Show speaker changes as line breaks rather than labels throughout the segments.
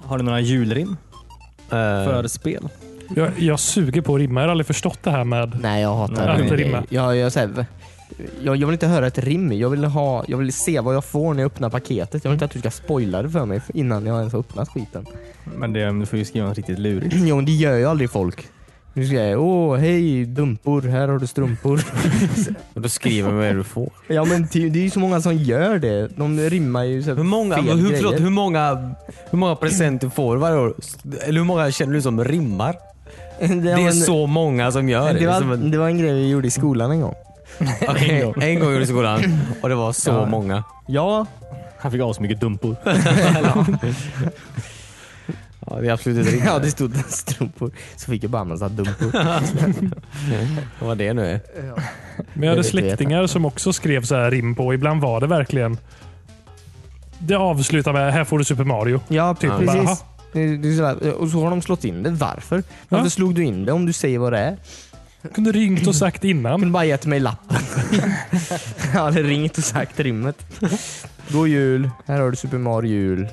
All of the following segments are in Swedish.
Har du några julrim
Eh,
för spel?
Jag, jag suger på att rimma. Jag har aldrig förstått det här med...
Nej, jag hatar
Nej, inte
rimma.
Jag, jag, så här, jag, jag vill inte höra ett rim. Jag vill, ha, jag vill se vad jag får när jag öppnar paketet. Jag vill inte att du ska spoila det för mig innan jag ens har öppnat skiten.
Men det, du får ju skriva något riktigt lurigt.
Jo, men det gör ju aldrig folk. Nu ska jag, åh hej dumpor, här har du strumpor.
Och då skriver man vad du får.
ja men ty- det är ju så många som gör det. De rimmar ju så
Hur
här,
många,
fel
hur, förlåt,
grejer.
hur, många, hur många presenter får du varje år? Eller hur många känner du som rimmar?
det,
Det är
men-
så många som gör det.
det,
Som
var,
en-
det var en grej vi gjorde i skolan en gång.
Okej, en gång- en gång gjorde i skolan och det var så
Ja.
många.
Ja,
Han fick av så mycket dumpor.
Ja, det är absolut inte riktigt.
ja det stod strumpor. Så fick jag bara en massa dumpor.
Vad var det nu är.
Men jag hade
vet jag inte.
släktingar som också skrev så här rim på. Ibland var det verkligen... Det avslutar med “Här får du Super Mario”.
Ja,
Typ, bara, aha.
precis. Det, det är sådär. Och så har de slått in det. Varför? Varför
Ja.
slog du in det om du säger vad det är?
Kunde ringt och sagt
De
innan.
kunde bara gett mig lappen. Jag hade ringt och sagt rimmet. God jul, här har du Super Mario jul.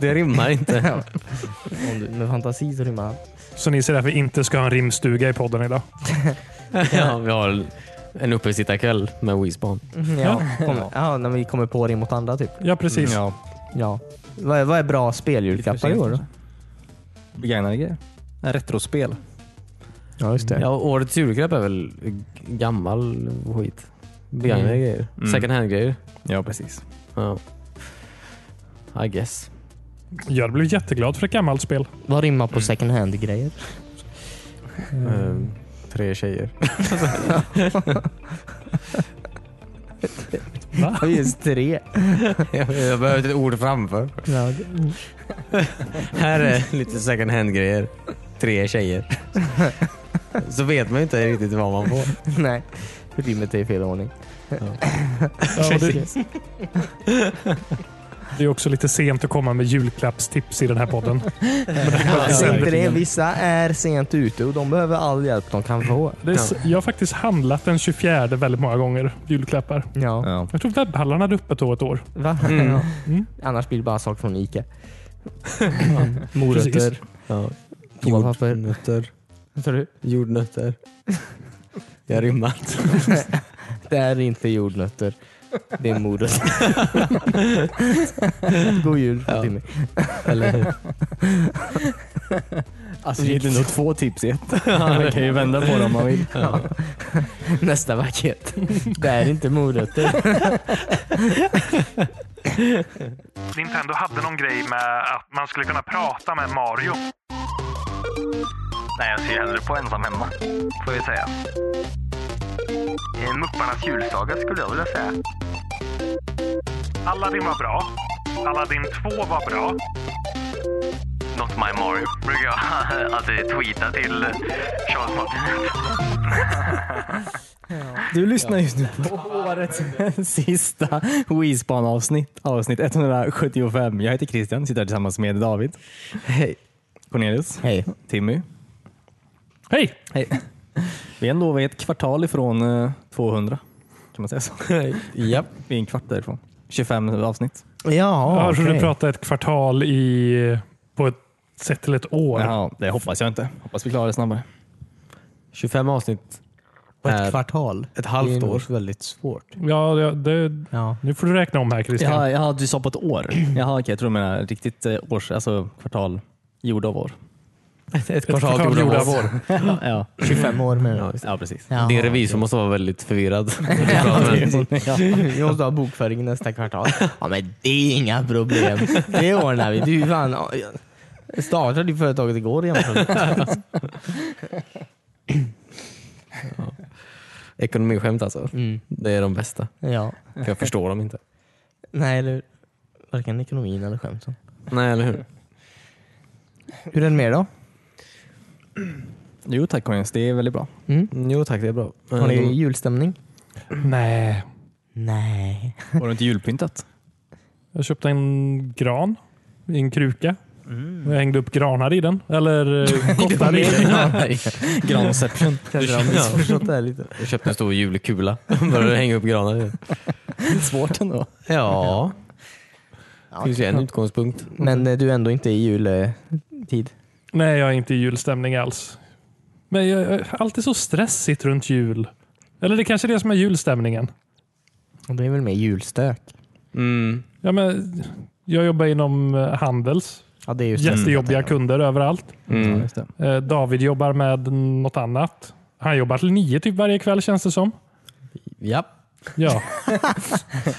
Det rimmar inte.
Ja. Om du, med fantasi så rimmar allt.
Så ni ser därför inte ska ha en rimstuga i podden idag.
Ja, vi har en uppesittarkväll med Wisbon.
Mm-hmm, Ja, kommer, ja, när vi kommer på rim åt andra typ.
Ja, precis.
Mm, Ja.
Ja. Vad är, vad är bra speljulklappar i år då?
Begagnade grejer. Retrospel.
Ja, just det.
Ja, årets julklapp är väl gammal skit. Begagnade
Mm.
grejer.
Mm.
Second hand-grejer.
Ja, precis.
Ja. I guess.
Jag blev jätteglad för ett gammalt spel.
Vad rimmar på second hand-grejer? Mm.
Ehm, tre tjejer.
Ja, just tre.
jag behöver ett ord framför.
Ja,
Här är lite second hand-grejer. Tre tjejer. Så vet man inte riktigt vad man får.
nej, rimmet är i fel ordning.
Ja, och det, det är också lite sent att komma med julklappstips i den här podden.
Ja,
Ja,
säg inte det.
verkligen.
Vissa är sent ute och de behöver all hjälp de kan få.
Det är, s- Jag har faktiskt handlat den 24 väldigt många gånger, julklappar.
Ja.
Ja.
Jag tror webbhallarna hade öppet då ett år.
Va?
Mm.
Ja.
Mm.
Annars blir det bara saker från Ica.
Precis.
Morötter.
Ja.
Toapapper.
Jordnötter.
Vad sa du?
Jordnötter. Jag rimmar.
Det är inte jordnötter. Det är morötter. God jul
Ja.
Timmy.
Eller hur?
Alltså, det är ändå två tips i ett. Man kan ju vända på dem om man vill.
Nästa paket. Det är inte morötter.
Nintendo hade någon grej med att man skulle kunna prata med Mario. Nej, jag ser hellre på ensam hemma. Får vi säga. Mupparnas julsaga skulle jag vilja säga. Aladdin var bra. Aladdin 2 var bra. Not my Mario brukar jag alltid tweeta till Charles Martinet.
Du lyssnar just nu på årets sista Wispan-avsnitt. Avsnitt 175. Jag heter Christian, sitter här tillsammans med David. Hej. Cornelius.
Hej.
Timmy.
Hej!
Hej. Vi är ändå vi är ett kvartal ifrån eh, 200. Kan man säga så?
Japp.
Vi är en kvart därifrån. 25 avsnitt.
Jag
Ja,
hörde
okej.
du prata ett kvartal i, på ett sätt till ett år.
Ja, det hoppas jag inte. Hoppas vi klarar det snabbare.
25 avsnitt.
På
är
ett kvartal.
Ett halvt
Det är
år.
nog väldigt svårt.
Ja, det, det,
Ja.
nu får du räkna om här Christian.
Jaha, jaha, du sa på ett år. Jaha, okej, jag tror du menar riktigt eh, års, alltså kvartal, gjord av år.
Ett
kvartal gjorda av
år.
ja,
25 år menar du?
ja, precis.
Ja.
Din revisor måste vara väldigt förvirrad.
Vi måste ha bokföring nästa kvartal. Ja men det är inga problem. Det ordnar vi. Du fan, jag startade ju företaget igår igen.
Ekonomiskämt alltså.
Mm.
Det är de bästa.
Ja.
För jag förstår dem inte.
Nej, eller Varken ekonomin eller skämten.
Nej, eller hur?
Hur är det med er då?
Jo tack Cornelius, det är väldigt bra.
Jo tack, det är bra.
Har ni
Mm.
julstämning?
Nej.
Nej.
Har du inte julpyntat?
Jag köpte en gran i en kruka.
Mm.
Jag hängde upp granar i den. Eller eh, kottar i den.
Granception.
Kanske har missförstått det här lite.
Jag köpte en stor julkula. Började hänga upp granar i den.
Svårt ändå.
Ja.
Ja,
finns ju en utgångspunkt.
Men eh, du är ändå inte i jultid.
Nej, jag är inte i julstämning alls. Men jag är alltid så stressigt runt jul. Eller det kanske är det som är julstämningen.
Och det är väl mer julstök?
Mm.
Ja, men jag jobbar inom eh, Handels.
Ja, det Mm. är ju stressigt,
Jättejobbiga
tänker jag.
kunder överallt.
Ja,
Mm.
just det.
Eh, David jobbar med något annat. Han jobbar till nio typ varje kväll känns det som.
Japp.
Ja,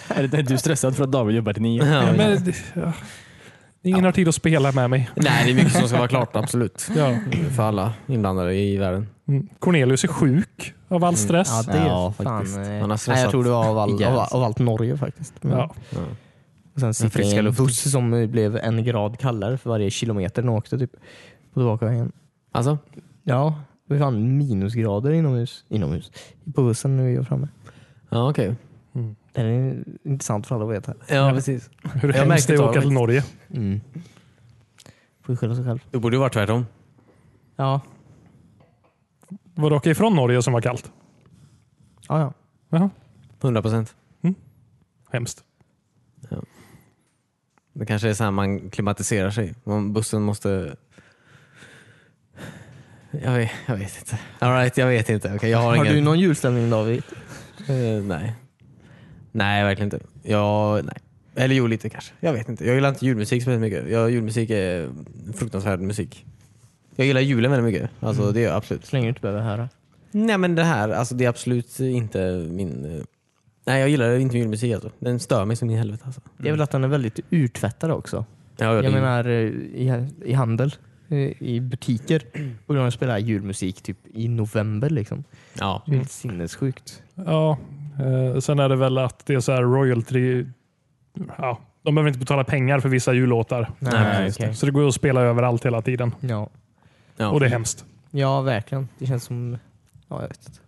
Är det- är du stressad för att David jobbar till nio?
ja men, eh, ja. Ingen har tid att spela med mig.
Nej, det är mycket som ska vara klart, absolut.
Ja.
För alla inblandade i världen.
Mm. Cornelius är sjuk av all stress.
Ja, det är
Ja,
fan,
faktiskt.
eh,
Han har
nej,
stressat
jag tror det var av, all,
ihjäl
av,
sig.
av allt Norge faktiskt. Men-
Ja.
Och sen sitter jag i
friska
en
luften.
buss som eh, blev en grad kallare för varje kilometer den åkte. Typ, på tillbakavägen.
Alltså,
Ja, det var fan minusgrader inomhus. Inomhus? På bussen när vi var framme.
ja okej.
Det är intressant för alla att veta.
Ja, precis.
Hur
Jag
hemskt det
märkte
är att
det
åka till
faktiskt.
Norge.
Mm. Får ju skylla sig själv.
Det borde ju vara tvärtom.
Ja,
Var det åka ifrån Norge som var kallt?
ja, ja.
Jaha,
100 procent.
hemskt.
Det kanske är så här man klimatiserar sig. Man, bussen måste... Jag vet, jag vet inte. All right, jag vet inte. Okej, jag har,
Har
ingen...
du någon julstämning David?
Eh, nej. Nej, verkligen inte. Jag, nej. Eller jo, lite kanske. Jag vet inte. Jag gillar inte julmusik så väldigt mycket. Jag, julmusik är fruktansvärd musik. Jag gillar julen väldigt mycket. Alltså,
Mm.
Det gör jag absolut.
Så länge du inte behöver höra.
Nej men det här, alltså, det är absolut inte min... eh, Nej, jag gillar inte julmusik alltså. Den stör mig som i helvete alltså.
Det är väl att den är väldigt urtvättad också.
Ja,
Jag
det-
menar eh, i, i handel, eh, i butiker. Och de spelar julmusik typ i november liksom.
ja.
Det är helt sinnessjukt.
Ja, eh, sen är det väl att det är så här royalty... Ja, de behöver inte betala pengar för vissa jullåtar.
Nej,
just
okej.
Så det går att spela överallt hela tiden.
Ja.
Ja.
Och det är hemskt.
ja, verkligen. Det känns som... Ja, jag vet inte.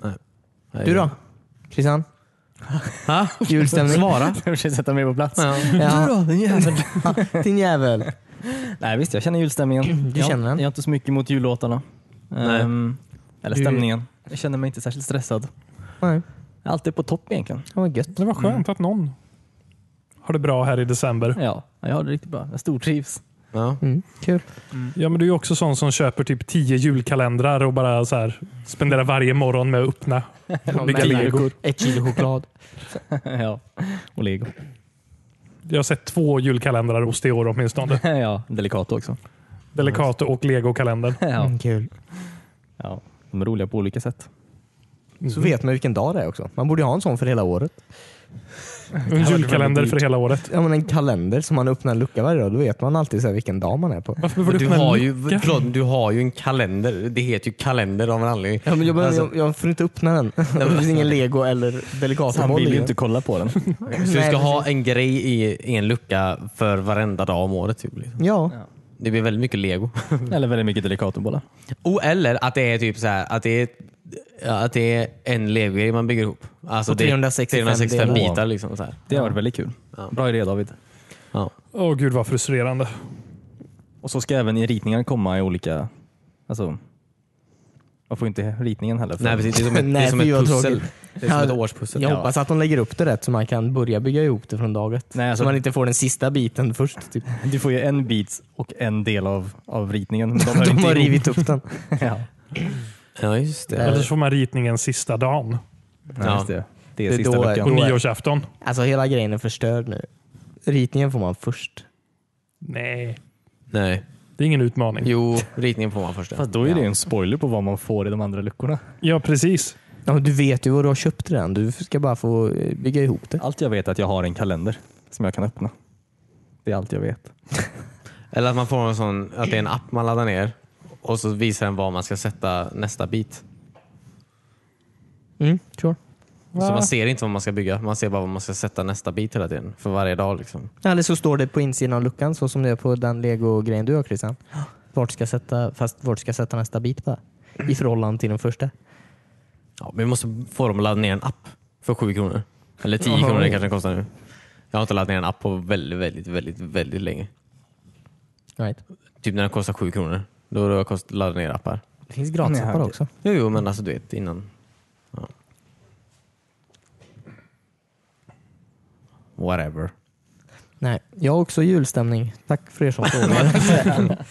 Nej,
Du då? Christian?
Ha?
Julstämning? Svara.
Jag försöker sätta mig på plats.
Ja.
Ja,
då, din jävel.
din jävel.
Nej visst, jag känner julstämningen.
Du
jag,
känner den?
Jag har inte så mycket emot jullåtarna.
Nej.
Ehm, eller
Du-
stämningen. Jag känner mig inte särskilt stressad.
Nej,
Jag är alltid på topp egentligen.
det var gött.
Det var skönt att någon har det bra här i december.
Ja, jag har det riktigt bra. Jag stortrivs.
Ja.
Mm, kul.
Ja, men Du är ju också sån som köper typ tio julkalendrar och bara så här, spenderar varje morgon med att öppna och bygga
men-
legor.
Ett kilo choklad.
ja. Och lego.
Jag har sett två julkalendrar hos det i år åtminstone.
ja, Delicato också.
Delicato och legokalendern.
ja.
Mm, kul.
ja, de är roliga på olika sätt.
Så vet man vilken dag det är också. Man borde ju ha en sån för hela året.
En julkalender för hela året.
Ja, men en kalender som man öppnar en lucka varje dag. Då vet man alltid så här vilken dag man är på.
Varför behöver
Du
öppna en
har, ju,
lucka?
förlåt, men du har ju en kalender. Det heter ju kalender av en anledning.
Ja, men jag,
Alltså-
jag, jag får inte öppna den. Det finns ingen lego eller
Så han
Delicatoboll
vill
i
ju
den.
inte kolla på den.
Så du
Nej,
ska ha en grej i, i en lucka för varenda dag om året. Typ. liksom.
Ja.
Det blir väldigt mycket lego.
Eller väldigt mycket Delicatobollar.
Och Oh, eller att det är typ så här, att det är, att det är en legogrej man bygger ihop. Alltså
Och
det är
365
365
delar.
bitar. Liksom, så här.
Det har varit väldigt kul. Bra idé David.
Ja.
Åh gud vad frustrerande.
Och så ska även i ritningarna komma i olika... Alltså, man får ju inte ritningen heller. för-
Nej, precis, det är som ett, det
Nej,
är som
fy vad
ett pussel.
tråkigt.
Det är som
Ja.
ett årspussel.
Jag
Ja.
hoppas att de lägger upp det rätt så man kan börja bygga ihop det från dag ett.
Nej, alltså-
Så man inte får den sista biten först. Typ.
Du får ju en bit och en del av, av ritningen. Men de hör
De
inte
har
ihop.
rivit upp den.
ja.
ja, just det.
Eller så får man ritningen sista dagen.
Ja, just det. Det är
Det är
sista
då-
På
luckan.
då- är-
nyårsafton.
Alltså hela grejen är förstörd nu. Ritningen får man först.
Nej,
Nej.
det är ingen utmaning.
Jo, ritningen får man först.
Fast då är det ju en spoiler på vad man får i de andra luckorna.
Ja, precis.
Ja, men du vet ju vad du har köpt redan. Du ska bara få eh, bygga ihop det.
Allt jag vet är att jag har en kalender som jag kan öppna. Det är allt jag vet.
Eller att man får en sån, att det är en app man laddar ner och så visar den var man ska sätta nästa bit.
Mm, sure.
Så
Va?
man ser inte vad man ska bygga, man ser bara vad man ska sätta nästa bit hela tiden. För varje dag liksom.
Eller så står det på insidan av luckan så som det är på den lego-grejen du har Christian. Vart ska sätta, fast vart ska sätta nästa bit bara? I förhållande till den första.
Ja, men vi måste få dem att ladda ner en app för 7 kronor. Eller 10 kronor det kanske den kostar nu. Jag har inte laddat ner en app på väldigt, väldigt, väldigt, väldigt länge.
Right.
Typ när den kostar 7 kronor. Då har jag kost- laddat ner appar.
Det finns gratisappar
Nej, okej.
också.
Jo, jo, men alltså du vet innan. Ja. Whatever.
Nej, jag har också julstämning. Tack för er som frågar.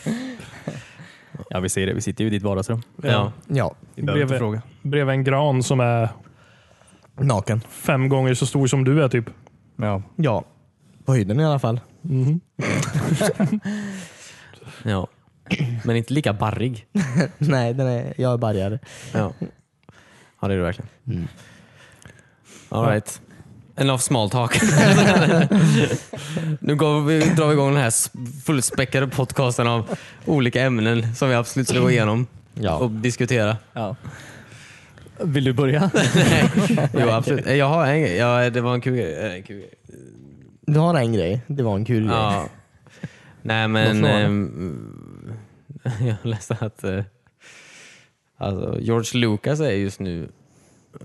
Ja, vi ser det. Vi sitter ju i ditt vardagsrum.
Ja.
ja,
Vi behöver inte
Bredvid.
fråga.
Bredvid en gran som är
naken.
fem gånger så stor som du är typ.
Ja.
Ja, på höjden i alla fall.
Mhm.
ja. Men inte lika barrig.
Nej, den är, jag är bargare.
Ja, ja det är det verkligen. All right. Mm. Enough small talk. nu går vi, drar vi igång den här fullspäckade podcasten av olika ämnen som vi absolut ska gå igenom och diskutera.
Vill du börja?
Jo, absolut. Jag har en ja, Det var en kul grej. Eh, en kul grej.
Du har en grej. Det var en kul grej.
Ja. Nej men...
Vad sa du?
ehm, jag läste att eh, alltså, George Lucas är just nu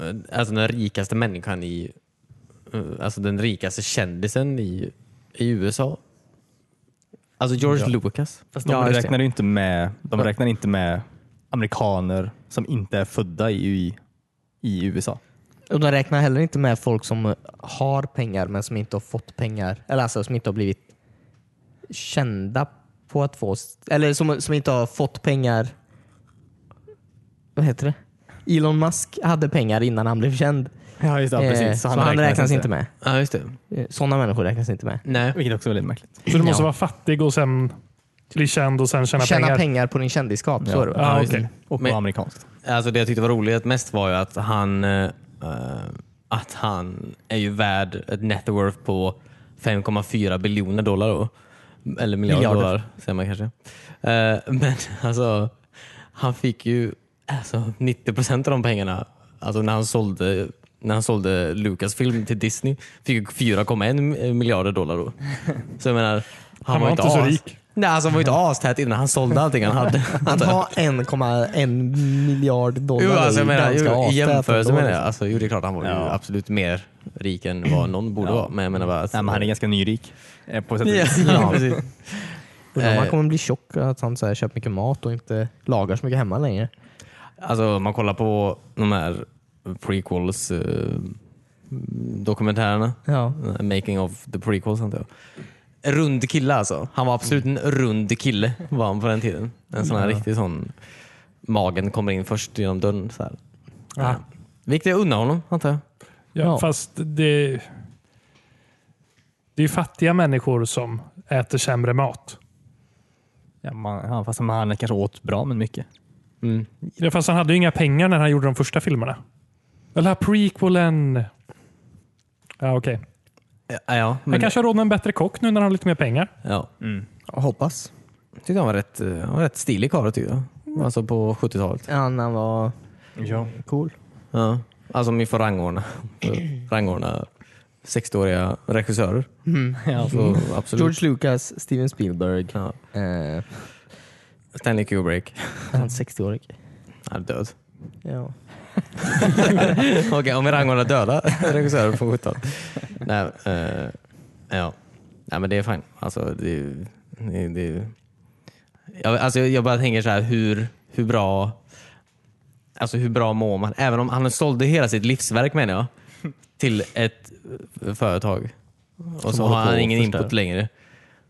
eh, alltså, den rikaste människan i... eh, Alltså den rikaste kändisen i, i USA. Alltså George Lucas.
Fast de
Ja, just det.
räknar ju inte med, de räknar inte med amerikaner som inte är födda i, i, i USA.
Och de räknar heller inte med folk som har pengar men som inte har fått pengar. Eller alltså som inte har blivit kända på att få... Eller som, som inte har fått pengar... Vad heter det? Elon Musk hade pengar innan han blev känd.
Ja, just det.
Eh,
precis.
så han, räknas, inte med.
Ja just det.
Eh, Sådana människor räknas inte med.
Nej.
Vilket också är väldigt märkligt.
Så du måste
Ja.
vara fattig och sen bli känd och sen tjäna,
Tjäna pengar.
pengar.
på din kändisskap. Så
Ja.
är det.
Ja,
just det.
okej.
Och
Men-
Men... amerikanskt.
Alltså det jag tyckte var roligt mest var ju att han, eh, eh, att han är ju värd ett net worth på 5,4 biljoner dollar då. Eller miljarder,
Miljarder.
dollar säger man kanske. Eh, men alltså, han fick ju alltså, 90 procent av de pengarna alltså, när han sålde när han sålde Lucasfilm till Disney fick ju 4,1 miljarder dollar då. Så jag menar, han,
Han var inte så
as-
rik.
Nej, alltså, han var ju inte astät innan han sålde allting han hade.
Att ha 1,1 miljard dollar
Jo, alltså, jag
är ju
menar,
ganska
jo, i
astätet
jämförelse
ändå,
med det.
liksom.
Alltså, jo, det är klart han var ju
Ja. Mm.
absolut mer rik än vad någon borde
Ja.
vara. Men jag menar bara... Alltså,
Nej, men han är ganska nyrik. eh, På sätt och
Ja,
vis.
ja, precis.
Undrar om han
Eh.
kommer bli tjock att han så här, köper mycket mat och inte lagar så mycket hemma längre.
Alltså om man kollar på de här prequels eh, dokumentärerna.
Ja.
Eh, Making of the prequels antar jag. Rund kille alltså. Han var absolut en rund kille var han på den tiden. En sån här riktig sån... Magen kommer in först genom dörren. Så här.
Ja.
Vilket jag unnar honom antar jag.
Ja,
Ja.
fast det... Det är ju fattiga människor som äter sämre mat.
Ja, man, ja, fast han kanske åt bra, men mycket.
Mm.
Ja, Fast han hade ju inga pengar när han gjorde de första filmerna. Eller prequelen. Ja, okej.
Ja, ja,
Han
men,
kanske har råd med en bättre kock nu när han har lite mer pengar.
ja.
Hoppas.
tyckte han var rätt, eh, han var rätt stilig karl tyckte jag. Alltså på 70-talet.
Han han var
Ja.
cool.
Ja. Alltså om vi får rangordna, rangordna 60-åriga regissörer. Så absolut.
hmm. George Lucas, Steven Spielberg.
Ja.
Eh,
Stanley Kubrick.
han 60-årig.
Han är död.
Ja.
Okej, om vi rangordnar döda regissörer från 70-talet. Nej, eh, ja. Nej, men det är fine. Alltså, det, är- det, det, jag, alltså, jag bara tänker så här, hur, hur bra Alltså hur bra mår man? Även om han sålde hela sitt livsverk menar jag, till ett eh, företag. Och så
håller
har
på
han
att
ingen
förstöra.
input längre.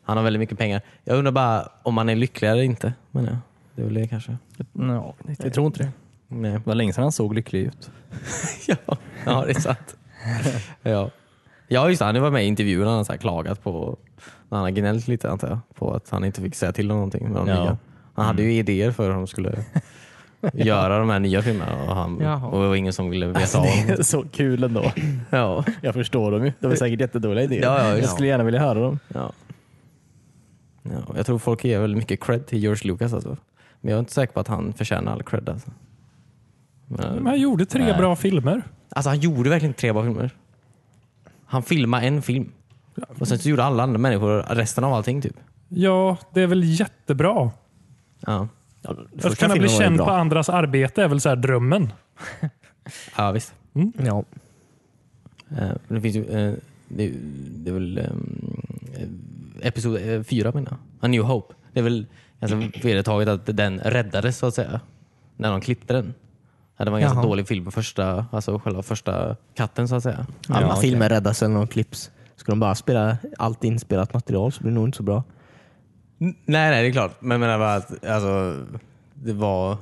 Han har väldigt mycket pengar. Jag undrar bara om han är lycklig eller inte. Menar jag. Det är väl det kanske.
No, jag tror inte Mm. det.
Nej.
Det var länge sedan han såg lycklig ut.
Ja, ja det är sant. ja. ja, just det. Han var med i intervjun han har så här klagat på, han har gnällt lite antar jag, på att han inte fick säga till om någonting. Med de
Ja.
nya. Han hade ju idéer för hur de skulle göra de här nya filmerna och, han,
Jaha.
och Alltså, det var ingen som ville veta av
Alltså, Det
honom.
är så kul ändå.
Ja.
Jag förstår dem ju. De är säkert jättedåliga idéer.
Ja, ja, ja.
Jag skulle gärna vilja höra dem.
Ja. Ja, och jag tror folk ger väldigt mycket cred till George Lucas alltså. Men jag är inte säker på att han förtjänar all cred alltså.
Men
Men,
han gjorde tre
Nej.
bra filmer.
Mm. alltså han gjorde verkligen tre bra filmer. Han filmade en film. Och sen så gjorde alla andra människor resten av allting typ.
Ja, det är väl jättebra.
Ja,
Att kunna bli känd på andras arbete är väl så här drömmen.
ja visst.
ja.
Eh, Det finns ju, eh, det, det är väl eh, episod eh, fyra menar jag. A New Hope. Det är väl alltså, ganska vedertaget att den räddades så att säga. När de klippte den. Ja, Det var en ganska
Jaha.
dålig film på första, alltså själva första katten så att säga.
Alla
okej.
filmer räddas eller någon klipps. Ska de bara spela allt inspelat material så blir det nog inte så bra.
N- Nej, nej, det är klart. Men jag menar bara att alltså, det var...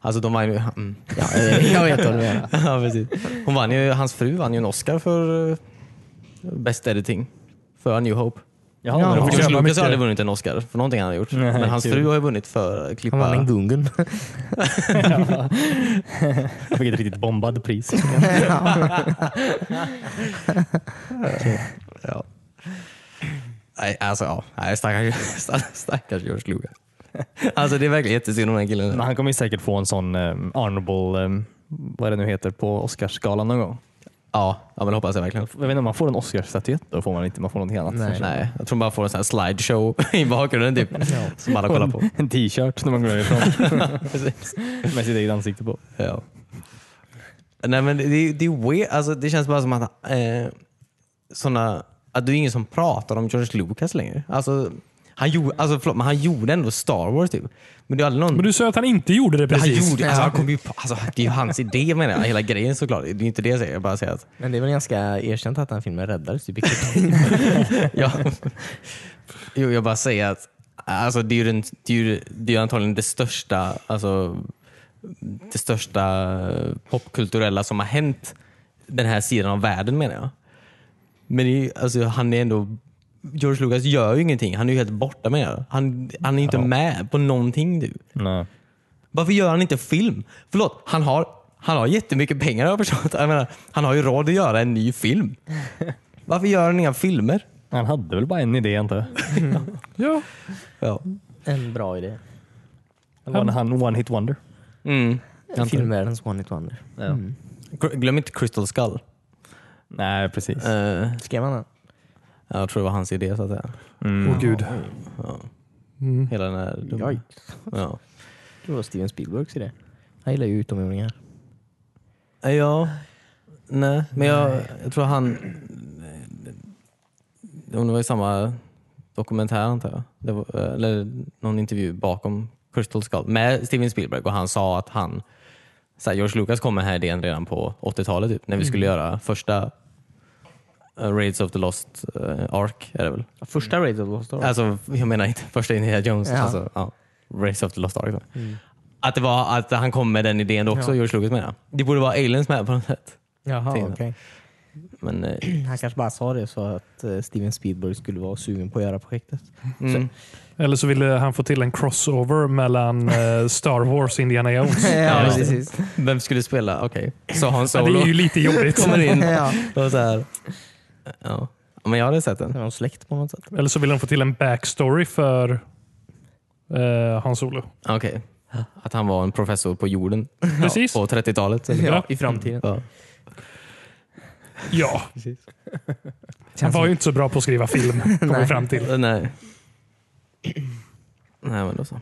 Alltså de vann ju... Mm.
Ja, eh, jag vet vad du menar.
ja, precis. Hon vann ju, hans fru vann ju en Oscar för eh, Best Editing för A New Hope.
Jaha,
Ja,
ja,
får
George
jävla
Lucas
mycket.
har aldrig vunnit en Oscar för någonting han har gjort.
Nej,
men hans
kul.
fru har ju vunnit för att klippa...
Han vann en Gungun.
jag fick ett riktigt bombad pris.
Ja. Nej, alltså ja. Nej, stackars, stack- stackars George Lucas. Alltså det är verkligen jättesynd om den här killen.
Men han kommer ju säkert få en sån um, honorable, um, vad det nu heter, på Oscarsgalan någon gång.
Ja, ja men det hoppas jag verkligen.
Jag vet inte om man får en Oscarsstatyett, då får man inte, man får någonting annat.
Nej.
Nej, jag tror man bara får en sån här slideshow i bakgrunden typ. Som alla kollar på.
En t-shirt när man går därifrån. Med sitt eget ansikte på.
Ja. Nej men det, det är weird. Alltså, det känns bara som att eh, såna, att det är ingen som pratar om George Lucas längre. Alltså, han, gjorde, alltså, förlåt, men han gjorde ändå Star Wars typ. Men det är aldrig någon...
Men du sa att han inte gjorde det
han
precis.
gjorde, alltså, han kom ju på, alltså, det är ju hans idé menar jag. Hela grejen såklart. Det är inte det jag säger. Jag bara säger att
Men det är väl ganska erkänt att den filmen räddades. Typ.
Ja. Jo, jag bara säger att alltså, det är ju, den, det är ju, det är ju antagligen det största, alltså, det största popkulturella som har hänt den här sidan av världen menar jag. Men det är, ju- alltså, han är ändå George Lucas gör ju ingenting. Han är ju helt borta med det. Han, han är inte med på någonting nu.
Nej.
Varför gör han inte film? Förlåt, han har, han har jättemycket pengar har jag förstått. Jag menar, han har ju råd att göra en ny film. Varför gör han inga filmer?
Han hade väl bara en idé antar jag.
Ja.
Ja.
En bra idé.
Han, han, one hit wonder.
Mm.
Filmvärldens one hit wonder.
Gr- Glöm inte Crystal Skull.
Nej, precis.
Eh,
Skrev han den?
ja, jag tror det var hans idé så att säga.
Åh gud. Mm.
Hela den här...
Jaj.
Ja.
Det var Steven Spielbergs idé. Han gillar ju utomjordingar.
Eh, ja. Nej, men jag, jag tror han... eh, Om det var i samma dokumentär antar jag. Det var, eh, eller någon intervju bakom Crystal Skull med Steven Spielberg och han sa att han... Så här, George Lucas kom med den här idén redan på 80-talet typ, när vi skulle
Mm.
göra första eh, Raids of the Lost eh, Ark är det väl?
Första Raid of the Lost Ark.
Alltså, jag menar inte första Indiana Jones.
Ja. Mm.
Alltså, ja. Race of the Lost Ark. då. Att, det var, att han kom med den idén då också,
Ja.
George Lucas menar jag. Det borde vara aliens med på något sätt.
Jaha,
Tiden.
okej.
Men, eh,
Mm, Han kanske bara sa det så att eh, Steven Spielberg skulle vara sugen på att göra projektet.
mm.
Eller så ville han få till en crossover mellan eh, Star Wars och Indiana Jones.
Ja,
precis.
Vem skulle spela? Okej, så Han
Ja, det
Solo
är ju lite jobbigt.
kommer in.
Ja.
Och så här. Ja. Men jag hade sett den.
Är de släkt på något sätt?
Eller så vill de få till en backstory för eh, Han Solo.
Okej. Att han var en professor på jorden
Precis.
på 30-talet.
Ja.
i framtiden.
Ja.
Ja. Han var ju inte så bra på att skriva film, kom vi
Nej.
fram till.
Eh, Nej. Nej, men då så.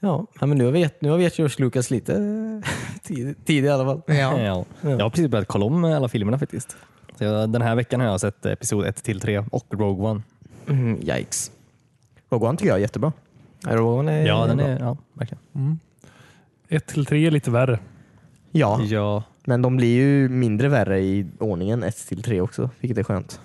Ja, nej, men nu har vi gett, nu har vi gett George Lucas lite eh, tid, tid i alla fall.
Ja.
Eh, Ja. Jag har precis börjat kolla om eh, alla filmerna faktiskt. Så jag, den här veckan har jag sett episod 1 till 3 och Rogue One.
Mm, yikes.
Rogue One tycker jag är jättebra.
Rogue One är
Ja, den
bra.
är, Eh, ja, verkligen.
1 till 3 är lite värre.
Ja,
Ja,
men de blir ju mindre värre i ordningen 1 till 3 också, vilket är skönt.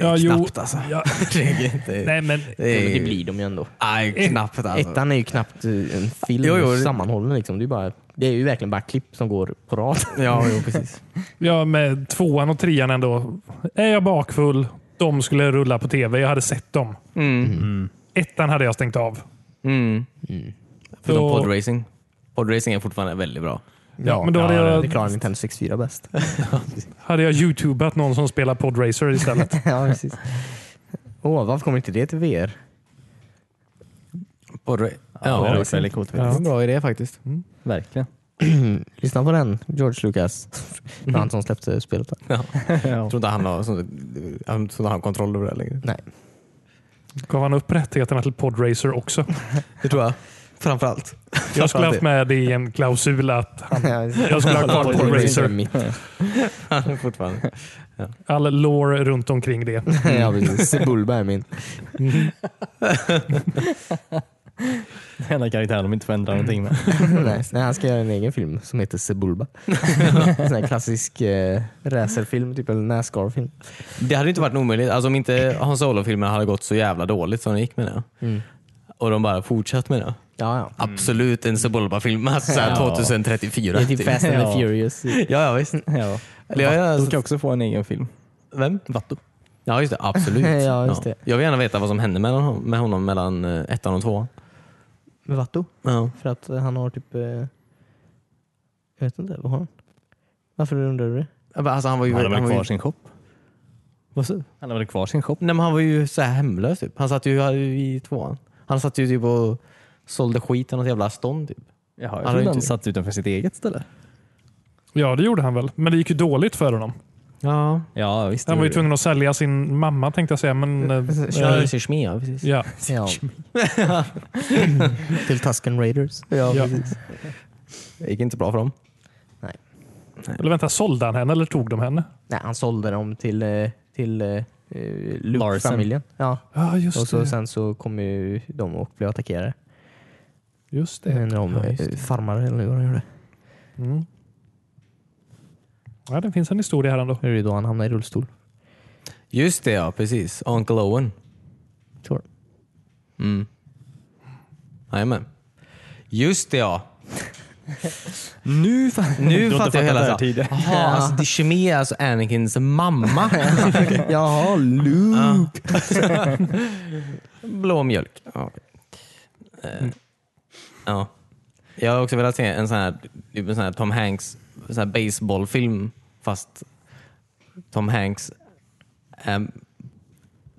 Ja, jo.
knappt alltså.
Ja,
Det är inte-
nej, men
är-
Det blir de ju ändå.
Nej, knappt alltså.
Ettan är ju knappt eh, en film
Jo, jo, det-
sammanhållen. Liksom. Det, är bara, det är ju verkligen bara klipp som går på rad.
Ja, jo, precis.
ja, med tvåan och trean ändå. Är jag bakfull? De skulle rulla på tv. Jag hade sett dem.
Mm.
Ettan hade jag stängt av.
Mm. Förutom
Då-
podracing. Podracing är fortfarande väldigt bra.
men då hade jag-
Det klarar Nintendo 64 bäst.
Hade jag youtubat någon som spelar podracer istället?
ja, precis. Åh, varför kommer inte det till VR?
Podra-
ja, det
ja,
är
det
också väldigt coolt.
är
Ja.
en bra idé faktiskt.
Verkligen.
Lyssna på den, George Lucas. Det var han som släppte spelet.
Jag tror inte han har, sån- jag tror inte han har kontroll över det längre.
Nej.
Gav han upp rättigheterna till podracer också?
Det tror jag. Framförallt.
Jag skulle haft med det i en klausul att han, jag skulle ha kvar podracer.
Han är fortfarande.
All lore runt omkring det.
ja, precis. Sebulba är min.
Den enda karaktären de inte får ändra någonting med.
Nej, nej, han ska göra en egen film som heter Sebulba. en sån här klassisk eh, racerfilm, typ en Nascar-film.
Det hade inte varit omöjligt. Alltså om inte Hans Solo-filmerna hade gått så jävla dåligt som de gick med det.
Mm.
Och de bara fortsatt med det.
Ja, ja.
Absolut en Sebulba-film. Alltså, så här
Ja.
2034.
Det är typ
typ.
Fast and
Ja.
the Furious.
Ja, ja visst.
Ja.
Eller jag-
Vattu ska också få en egen film.
Vem?
Vattu.
Ja just det, absolut.
Ja, just det.
Jag vill gärna veta vad som hände med honom, med honom mellan eh, ettan och tvåan.
Med Vatto.
Ja.
För att eh, han har typ... Eh, jag vet inte, vad har han? Varför undrar du det?
Alltså, han var ju...
Han hade väl
han var ju
kvar sin shop?
vad sa du?
Han hade väl kvar sin shop?
Nej, men han var ju så här hemlös typ. Han satt ju i tvåan. Han satt ju typ och sålde skit i något jävla stånd typ.
Jaha, jag
hade
trodde
ju
han
inte-
satt utanför sitt eget ställe.
Ja, det gjorde han väl. Men det gick ju dåligt för honom.
Ja.
Ja, visst.
Han var ju
gjorde det.
tvungen att sälja sin mamma tänkte jag säga. Men, eh,
Kör
eh,
sin schmi, ja, precis.
ja.
Ja. Till Tusken Raiders.
Ja.
Det gick inte bra för dem.
Eller vänta, sålde han henne eller tog de henne?
Nej, han sålde dem till, eh, till eh, eh,
Larsen.
Luke-familjen. Ja.
Ja, just
Och så,
det.
sen så kom ju de och blev attackerade.
Just
Jag
det.
undrar om
Ja, just det.
eh, farmare eller vad han gjorde.
Mm. Ja, det finns en historia här ändå.
Det är ju då han hamnade i rullstol.
Just det ja, precis. Uncle Owen.
Tror jag.
Mm. Jajamän. Just det ja.
Nu fan.
Nu fattar jag hela
tiden.
Jaha, alltså, det är kemi är alltså Anakins mamma.
Jaha, Luke.
Blå mjölk. Ja. Eh, ja. Jag har också velat se en sån här, typ en sån här Tom Hanks sån här baseballfilm fast Tom Hanks ehm,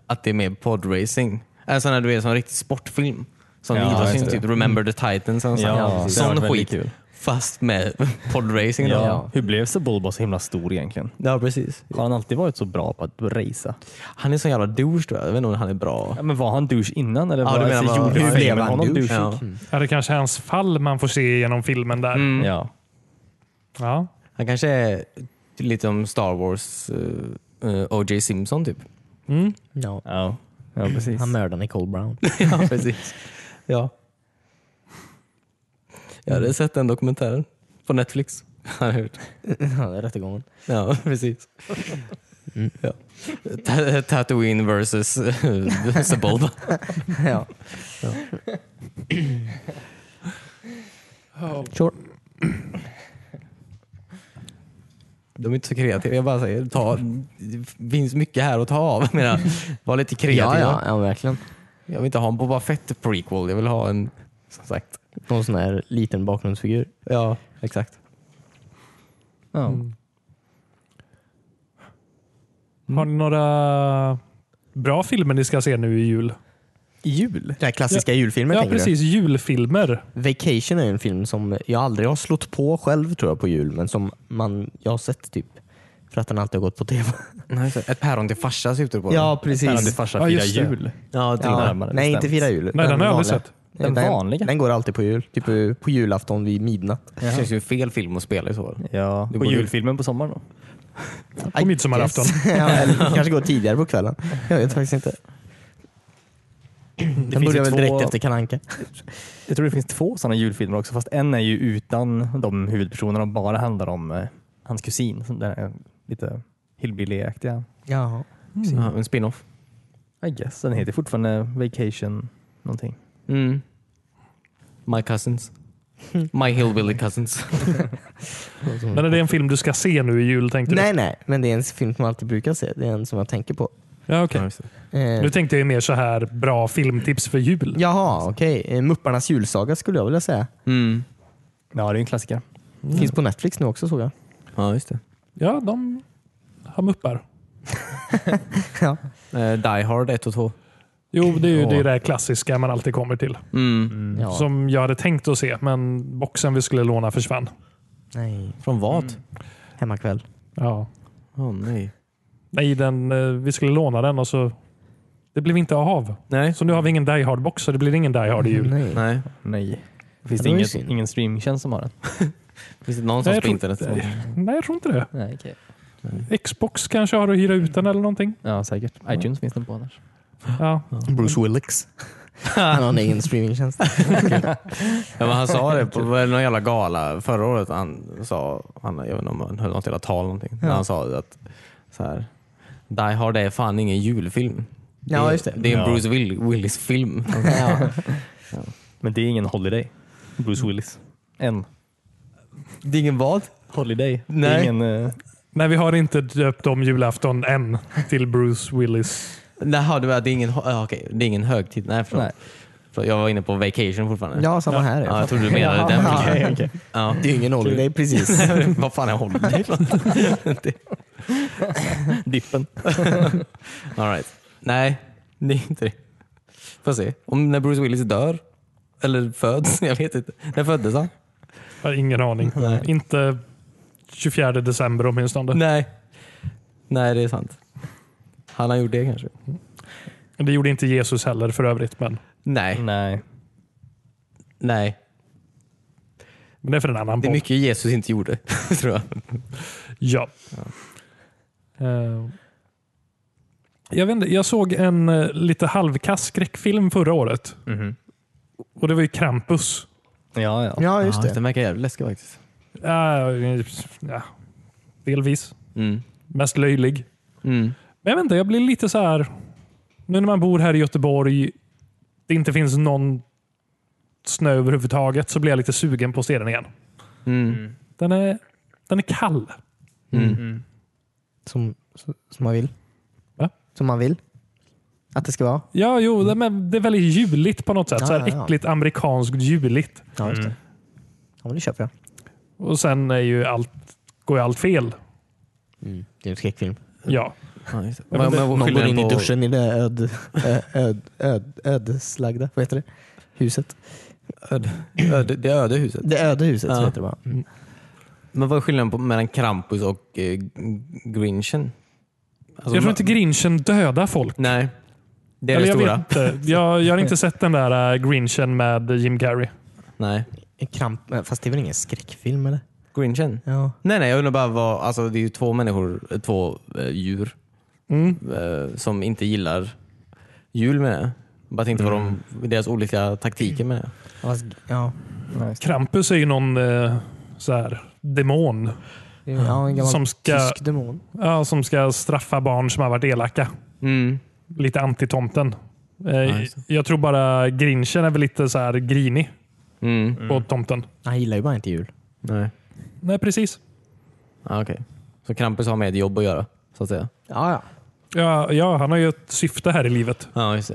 att det är med podracing. En sån här du vet, som en riktig sportfilm. Som
Ja,
idrottsfilm,
just det.
typ Remember the Titans. Och sån
Ja,
ja,
precis. Det hade
sån
varit väldigt
skit.
kul.
Fast med podracing. Då.
Ja. Hur blev så Bulba så himla stor egentligen?
ja, precis.
Har han alltid varit så bra på att racea?
Han är så jävla douche tror jag. Jag vet inte om han är bra.
Ja, men var han douche innan? Eller var, alltså,
vad-
gjorde
hur
filmen
blev han
honom Mm.
douche?
douchig?
Ja.
Är det kanske hans fall man får se genom filmen där?
Ja.
Ja.
Han kanske är lite om Star Wars eh, eh, O.J. Simpson typ.
Mm.
Ja.
Ja. ja, precis.
Han mördade Nicole Brown.
ja, precis. Ja. Jag hade sett den dokumentären på Netflix. Har jag hört.
Ja, det är Rättegången.
Ja, precis. Ja. Ta- Tatooine versus eh, Sebulba.
ja. Sure.
De är inte så kreativa. Jag bara säger, ta, det finns mycket här att ta av. Jag menar, var lite
Ja,
kreativa.
ja, ja, verkligen.
Jag vill inte ha en Boba Fett prequel. Jag vill ha en, som sagt.
Någon sån här liten bakgrundsfigur.
Ja, exakt.
Ja.
Har ni några bra filmer ni ska se nu i jul?
Jul? Den här klassiska julfilmen
Ja,
tänker
precis. Julfilmer.
du? Vacation är en film som jag aldrig har slått på själv tror jag på jul, men som man, jag har sett typ. För att den alltid har gått på tv.
Nej, så- Ett päron till farsa syftar du på.
Ja,
Päron till
precis.
farsa
Ja,
firar
just det.
jul.
ja, till
Ja.
ja.
närmare
Nej,
bestämt.
inte fira jul.
Nej, den har jag aldrig
vanliga.
sett.
Den vanliga.
Den går alltid på jul. Typ eh, på julafton vid midnatt.
Det känns ju fel film att spela i så fall.
Ja.
Det
Och
går ju-
julfilmen på sommaren då?
I
midsommarafton.
guess. ja, eller kanske går tidigare på kvällen. Jag vet faktiskt inte. Den
finns ju
börjar väl
två-
direkt efter Kalle Anka.
Jag tror det finns två sådana julfilmer också, fast en är ju utan de huvudpersonerna och bara handlar om eh, hans kusin. som Den är lite hillbillyaktiga.
Jaha.
Ja, en spin-off.
I guess. Den heter fortfarande Vacation någonting.
Mm. My cousins. My hillbilly cousins.
Men är det en film du ska se nu i jul tänkte
Nej, nej, men det är en film som man alltid brukar se. Det är en som jag tänker på.
du? Ja, okej.
Eh,
Nu tänkte jag ju mer så här bra filmtips för jul.
jaha, okej. Eh, Mupparnas julsaga skulle jag vilja säga.
Mm.
Ja, det är en klassiker.
Finns på Netflix nu också såg jag.
Ja, just det.
Ja, de har muppar.
ja.
Eh, Die Hard 1 och 2.
Jo, det är ju det där klassiska man alltid kommer till.
Mm.
Ja.
Som jag hade tänkt att se, men boxen vi skulle låna försvann.
Nej,
Från vad?
Mm.
hemmakväll.
Ja.
Åh nej.
Nej, den, eh, vi skulle låna den och så... Det blev inte av.
Nej.
Så nu har vi ingen Die Hard-box, så det blir ingen Die Hard i jul.
Nej.
Nej.
Nej. Finns det
det var ju
inget,
synd.
ingen streamtjänst som har den?
Finns det
Nej,
någonstans
jag
på
tror-
internet?
Nej, jag tror inte det.
Nej, okay.
Xbox kanske
Mm.
har att hyra ut den eller någonting.
Ja, säkert. iTunes finns den på annars.
Ja.
Bruce Willix. Mm. Han har en egen streamingtjänst.
Ja, men han sa det på var det någon jävla gala förra året. Han sa, han, jag vet inte om han höll något jävla tal eller någonting. Men han sa det att så här, Die Hard är fan ingen julfilm.
Ja,
är-
just det.
Det är en
Ja.
Bruce Will- Willis-film.
ja.
Men det är ingen Holiday. Bruce Willis. Än.
Det är ingen vad?
Holiday. Det är
Nej.
ingen, eh,
Nej, vi har inte döpt om julafton än till Bruce Willis.
Jaha, det var- det är ingen, ah, okej, det är ingen högtid. Nej, förlåt.
Nej.
Förlåt, Jag var inne på vacation fortfarande.
ja, samma här.
Ja, jag trodde du menade den.
Ja.
filmen. Ja.
Det är ju ingen holiday precis.
Vad fan är holiday?
dippen.
All right. Nej, det är inte det. Får se. Om när Bruce Willis dör. Eller föds. Jag vet inte. När föddes han?
Jag har ingen aning. Inte 24 december åtminstone.
Nej. Nej, det är sant. Han har gjort det kanske.
Det gjorde inte Jesus heller för övrigt. Men,
Nej.
Mm.
Nej.
Nej.
men det är för en annan
Det är
podd.
mycket Jesus inte gjorde, tror jag.
Ja. Eh, Jag, vet inte, jag såg en eh, lite halvkass skräckfilm förra året.
Mhm.
Och det var ju Krampus.
Ja, ja.
Ja, just
Den
det.
verkar jävligt läskig faktiskt.
Eh, ja, delvis.
Mm.
Mest löjlig.
Mm.
Men jag vet inte, jag blir lite så här. Nu när man bor här i Göteborg, det inte finns någon snö överhuvudtaget, så blir jag lite sugen på att se den igen.
Mm.
Den är, den är kall.
Mm. Som, som man vill.
Va?
Som man vill. Att det ska vara.
Ja, jo, det, men det är väldigt juligt på något sätt.
Ja,
så här
Mm. ja, ja.
äckligt amerikanskt juligt.
Ja, just det. Ja, men det köper jag.
Och sen är ju allt, går ju allt fel.
Mm. Det är en skräckfilm.
Ja.
Ja, just det.
Ja, men det-
vad
Någon går
skillnaden
in i
på-
duschen i det öd, ö- öd, öd, ödeslagda, vad heter det? Huset.
Öde, det öde huset.
Det öde huset
Ja.
så heter det bara. Mm.
Men vad är skillnaden på, mellan Krampus och eh, Grinchen? Alltså,
jag tror
ma-
inte grinchen dödar folk.
Nej. Det är det
Eller jag,
stora.
vet inte. Jag, jag har inte sett den där äh, grinchen med Jim Carrey.
Nej.
En Kramp, eh, fast det är väl ingen skräckfilm eller?
Grinchen?
Ja.
Nej, nej, jag undrar bara vad... Alltså, det är ju två människor, eh, två eh, djur
Mm.
eh, som inte gillar jul med det. Bara tänkte vad de, deras olika taktiker med det.
Fast, ja.
Krampus är ju någon äh, så här, demon
Det är- ja, en gammal
Som ska-
tysk demon.
ja, som ska straffa barn som har varit elaka.
Mm.
Lite antitomten. Eh,
just
jag tror bara grinchen är väl lite så här grinig
Mm.
på tomten.
Han gillar ju bara inte jul.
Nej.
Nej, precis.
Ah, Okej. Så Krampus har med ett jobb att göra, så att säga?
Ja, ja.
Ja, ja, han har ju ett syfte här i livet.
Ja, just det.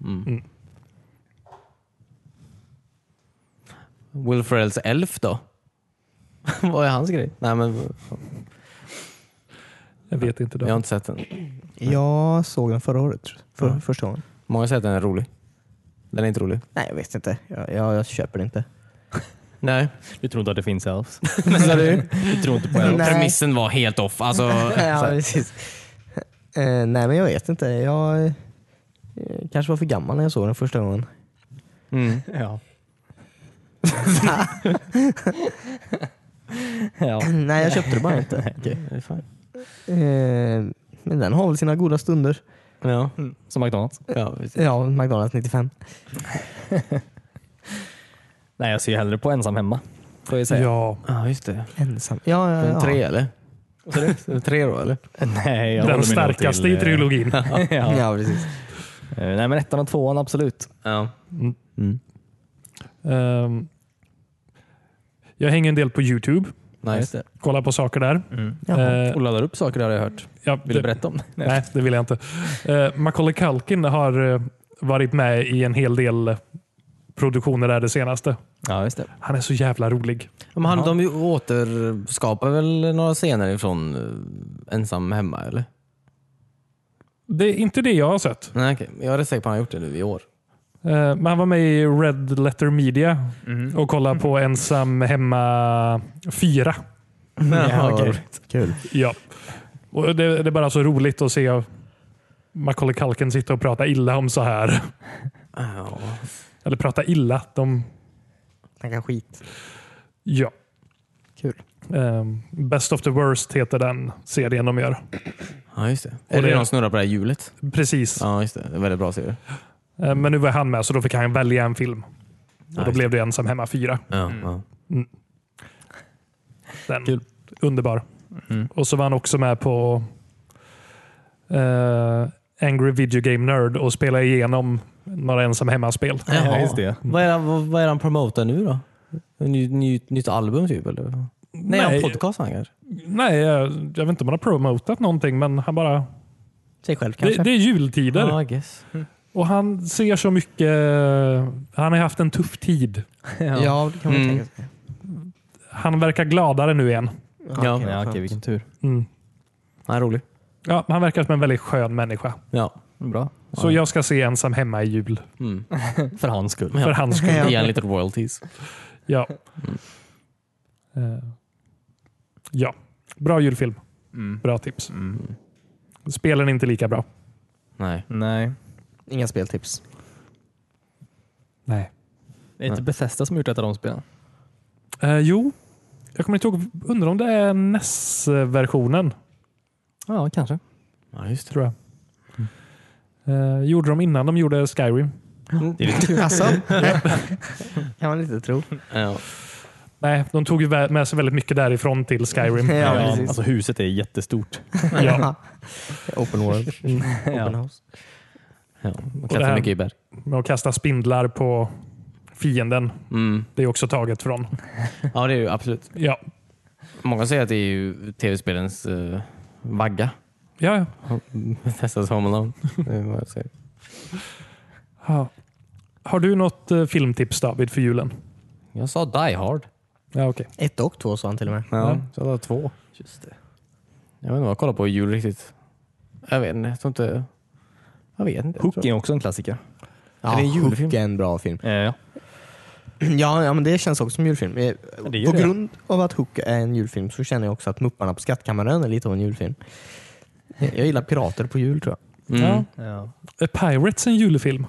Mm. Will Ferrells Elf då? vad är hans grej? Nej, men
Jag vet inte.
jag har
Det.
inte sett den.
Jag såg den förra året. tror jag. För,
Ja.
Första gången.
Många säger att den är rolig. Den är inte rolig.
Nej, jag vet inte. Jag, jag, jag köper det inte.
Nej.
Du tror inte att det finns alls?
du?
Du tror inte på det?
Nej.
Premissen var helt off. Alltså,
ja,
så här.
precis. Eh, nej, men jag vet inte. Jag eh, kanske var för gammal när jag såg den första gången.
mm.
Ja. ja. Mm,
nej, jag köpte det bara inte.
Det är fine.
Eh, men den har väl sina goda stunder.
Ja.
Som McDonalds.
Ja, precis.
Ja, McDonalds 95.
Nej, jag ser hellre på ensam hemma. Får jag säga.
Ja,
ja, just det.
Ensam. Ja, ja, ja.
Tre eller? Är det Tre då eller?
Nej, jag håller
den
mig nog
starkaste
till,
i
eh,
trilogin.
ja.
Ja, precis.
Eh, Nej, men ettan och tvåan absolut.
Ja. Mm.
Ehm, jag hänger en del på Youtube.
Ja,
Nice.
det.
Kolla på saker där.
Jaha.
Eh,
Och laddar upp saker där har jag hört.
ja,
Vill
det-
Mm. du berätta om det?
Nej, det vill jag inte. Uh, Macaulay Culkin har eh, varit med i en hel del eh, produktioner där det senaste.
Ja, just det.
Han är så jävla rolig.
Men han, de ju återskapar väl några scener ifrån eh, Ensam hemma eller?
Det är inte det jag har sett.
Nej, okej. Jag är rätt säker på att han har gjort det nu i år.
Eh, men han var med i Red Letter Media
Mm.
och kollade på Ensam Hemma 4.
Ja, okej.
Kul.
Ja. Och det, det är bara så roligt att se Macaulay Culkin sitta och prata illa om så här.
Ja.
Eller prata illa. De,
Snacka skit.
ja.
Kul.
Ehm, Best of the worst heter den serien de gör.
Ja, just det.
Och
Är det
det-
de snurrar på det här hjulet?
Precis.
Ja, just det. det är väldigt bra serie.
Eh, Men nu var han med så då fick han välja en film. Och då
Nice.
blev det Ensam hemma 4.
Ja, ja.
Den.
Kul.
Underbar.
Mm.
Och så var han också med på eh, Angry Video Game Nerd och spelade igenom några Ensam hemma-spel.
Ja, just det.
Vad är, han- vad, vad är han promotar nu då? En ny, ny, nytt album typ? Eller? Nej, en podcast han kanske?
nej, eh, jag vet inte om han har promotat någonting, men han bara...
Sig själv
Det,
kanske.
det är jultider.
Ja, I guess.
Och han ser så mycket... Han har haft en tuff tid.
ja. det kan man
Mm.
tänka sig.
Han verkar gladare nu igen.
Ja,
Ja, okej, vilken tur.
Mm.
Han är rolig.
Ja, han verkar som en väldigt skön människa.
Ja.
Bra.
Så jag ska se Ensam hemma i jul.
Mm.
För hans skull.
För hans skull.
Ge han lite royalties.
Ja. Eh, ja. Bra julfilm. Bra tips. Spelen är inte lika bra.
Nej.
Nej.
Inga speltips.
Nej.
Det är inte Bethesda som gjort ett av de spelen.
Eh, jo, jag kommer inte ihåg. Undrar om det är E NES-versionen,
Ja, kanske.
Ja, just det.
tror jag. Eh, gjorde de innan de gjorde Skyrim?
Alltså? kan man inte tro.
Ja.
Nej, de tog ju vä- med sig väldigt mycket därifrån till Skyrim.
Ja, precis.
alltså huset är jättestort.
ja.
Open world. Open
ja.
house.
Ja. Och
det här-
klättrar mycket i berg.
Med att kasta spindlar på fienden.
Mm.
Det är också taget från.
Ja, det är ju absolut.
Ja,
Många säger att det är ju tv-spelens eh, vagga.
ja. ja.
Testas Home Alone. Det är vad jag säger.
Ha. Har du något eh, filmtips David för julen?
Jag sa Die Hard.
Ja, okej.
Ett och två sa han till och med.
Ja, så jag sa två.
Just det.
Jag vet inte vad jag kollar på i jul riktigt. Jag vet inte. Jag tror inte... Jag vet inte.
Hook
Jag
är också en klassiker.
Ja,
det en julfilm?
Hook är en bra film.
ja.
Ja, ja men det känns också som julfilm. Eh,
det gör
På
det.
grund av att Hook är en julfilm så känner jag också att Mupparna på Skattkammaren är lite av en julfilm. Eh, Jag gillar pirater på jul tror jag.
tror- Mm.
ja.
Ja. Är Pirates en julfilm?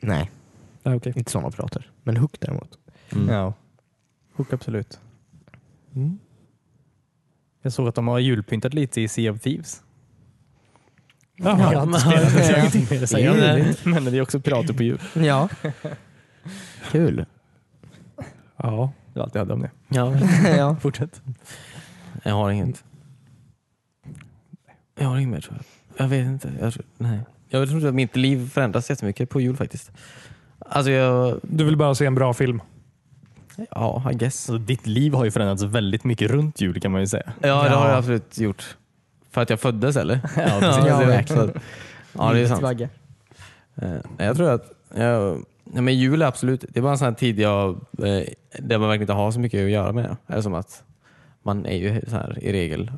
Nej,
Ja, okej.
inte sådana pirater. Men Hook däremot.
ja. Mm. Hook absolut.
Mm.
Jag såg att de har julpyntat lite i Sea of Thieves.
Jaha.
Jag har inte spelat det, så jag har ingenting mer att säga om
Det är
det. Men det är också pirater på jul.
Ja. Kul.
Ja.
Det var allt jag hade om det.
Ja.
ja.
Fortsätt.
Jag har inget. Jag har inget mer tror jag. Jag vet inte. Jag tror, nej. jag tror inte att mitt liv förändras jättemycket på jul faktiskt. Alltså jag...
Du vill bara se en bra film?
Ja, I guess.
Så ditt liv har ju förändrats väldigt mycket runt jul kan man ju säga.
Ja, det har
Ja.
jag absolut gjort. För att jag föddes eller?
Ja,
det
precis.
är
Ja,
verkligen. Mm. Ja, det är sant.
Vagga.
Eh, Jag tror att jag, nej, men jul är absolut, det är bara en sån här tid jag, eh, där man verkligen inte har så mycket att göra med. Det är som att man är ju så här, i regel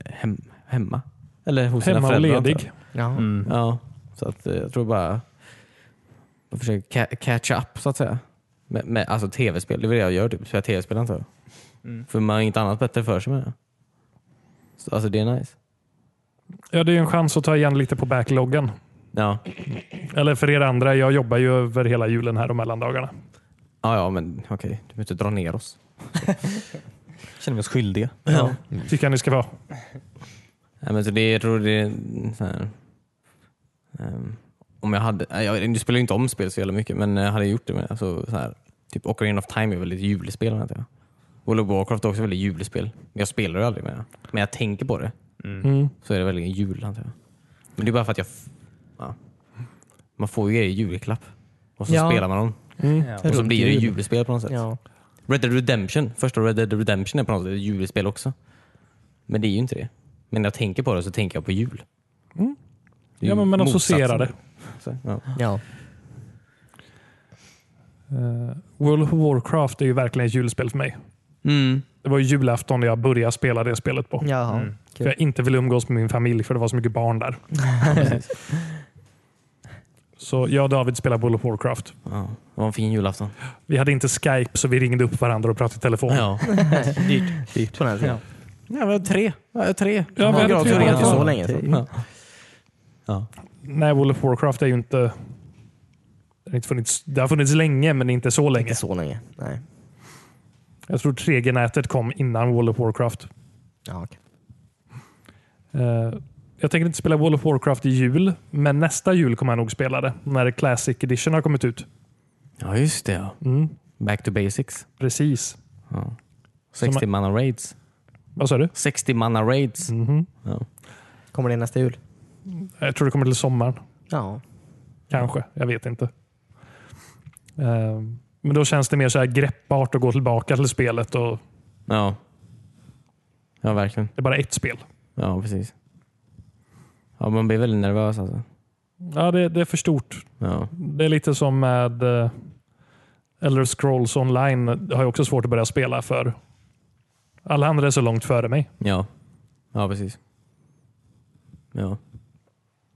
eh, hem, hemma. Eller hos sina
Hemma och
föräldrar. antar jag.
ledig?
Ja.
Mm.
Ja, så att eh, jag tror bara jag försöker ca- catch up så att säga. Med, med, alltså tv-spel, det är väl det jag gör typ. Spelar tv-spel antar jag.
Mm.
För man har inget annat bättre för sig med det. Så, alltså det är nice.
Ja, det är en chans att ta igen lite på backloggen.
Ja,
Eller för er andra, jag jobbar ju över hela julen här och mellandagarna.
ja, ja men okej. Du behöver inte dra ner oss.
Känner vi oss skyldiga.
Ja.
Mm.
Tycker jag ni ska vara.
Nej, men så det, jag tror det är en sån här, ehm, Om jag hade, nej, jag, nu spelar jag inte om spel så jävla mycket men eh, hade jag gjort det med alltså, så här, typ Ocarina of Time är väl ett julspel antar jag. World of Warcraft är också väldigt julspel. Men jag spelar det aldrig med det. Men jag tänker på det
Mm.
så är det väldigt jul antar jag. Men det är bara för att jag... f- Ja, man får ju grejer i julklapp och så
Ja.
spelar man dem.
Mm.
Ja.
Och så
Runt
blir det
jul.
julspel på något sätt.
Ja.
Red Dead Redemption, första Red Dead Redemption är på något sätt ett julspel också. Men det är ju inte det. Men när jag tänker på det så tänker jag på jul. Det är
Mm. Ja,
ju
men man
motsatsen.
associerar det.
Så, ja.
ja.
Eh, World of Warcraft är ju verkligen ett julspel för mig.
Mm.
Det var ju julafton jag började spela det spelet på.
Jaha.
För jag inte ville umgås med min familj för det var så mycket barn där. så jag och David spelar World of Warcraft.
Ja. Det var en fin julafton.
Vi hade inte Skype så vi ringde upp varandra och pratade i telefon.
Ja.
Dyrt. Dyrt på den här tiden.
Ja, vi hade tre. Vi hade tre.
Ja, vi hade
Gratis
typ
tre.
och rent
Ja.
så länge.
länge sedan.
Ja. Ja.
Nej, World of Warcraft är ju inte... Det har, inte funnits, det har funnits länge, men inte så länge.
Inte så länge. Nej.
Jag tror 3G-nätet kom innan World of Warcraft.
Ja, okej.
Eh, Jag tänker inte spela World of Warcraft i jul, men nästa jul kommer jag nog spela det. När Classic Edition har kommit ut.
Ja, just det. Ja.
Mm,
Back to basics.
precis.
Ja. 60
Som-
manna raids.
Vad sa du?
60 manna raids.
Mhm.
Kommer det nästa jul?
Jag tror det kommer till sommaren.
Ja.
Kanske. Jag vet inte. Ehm, Men då känns det mer så här greppbart att gå tillbaka till spelet. Och
Ja. Ja, verkligen.
det är bara ett spel.
Ja, precis. Ja, man blir väldigt nervös alltså.
Ja, det, det är för stort.
Ja.
Det är lite som med eh, Elder Scrolls online. Det har jag också svårt att börja spela för. Alla andra är så långt före mig.
Ja. Ja, precis. Ja.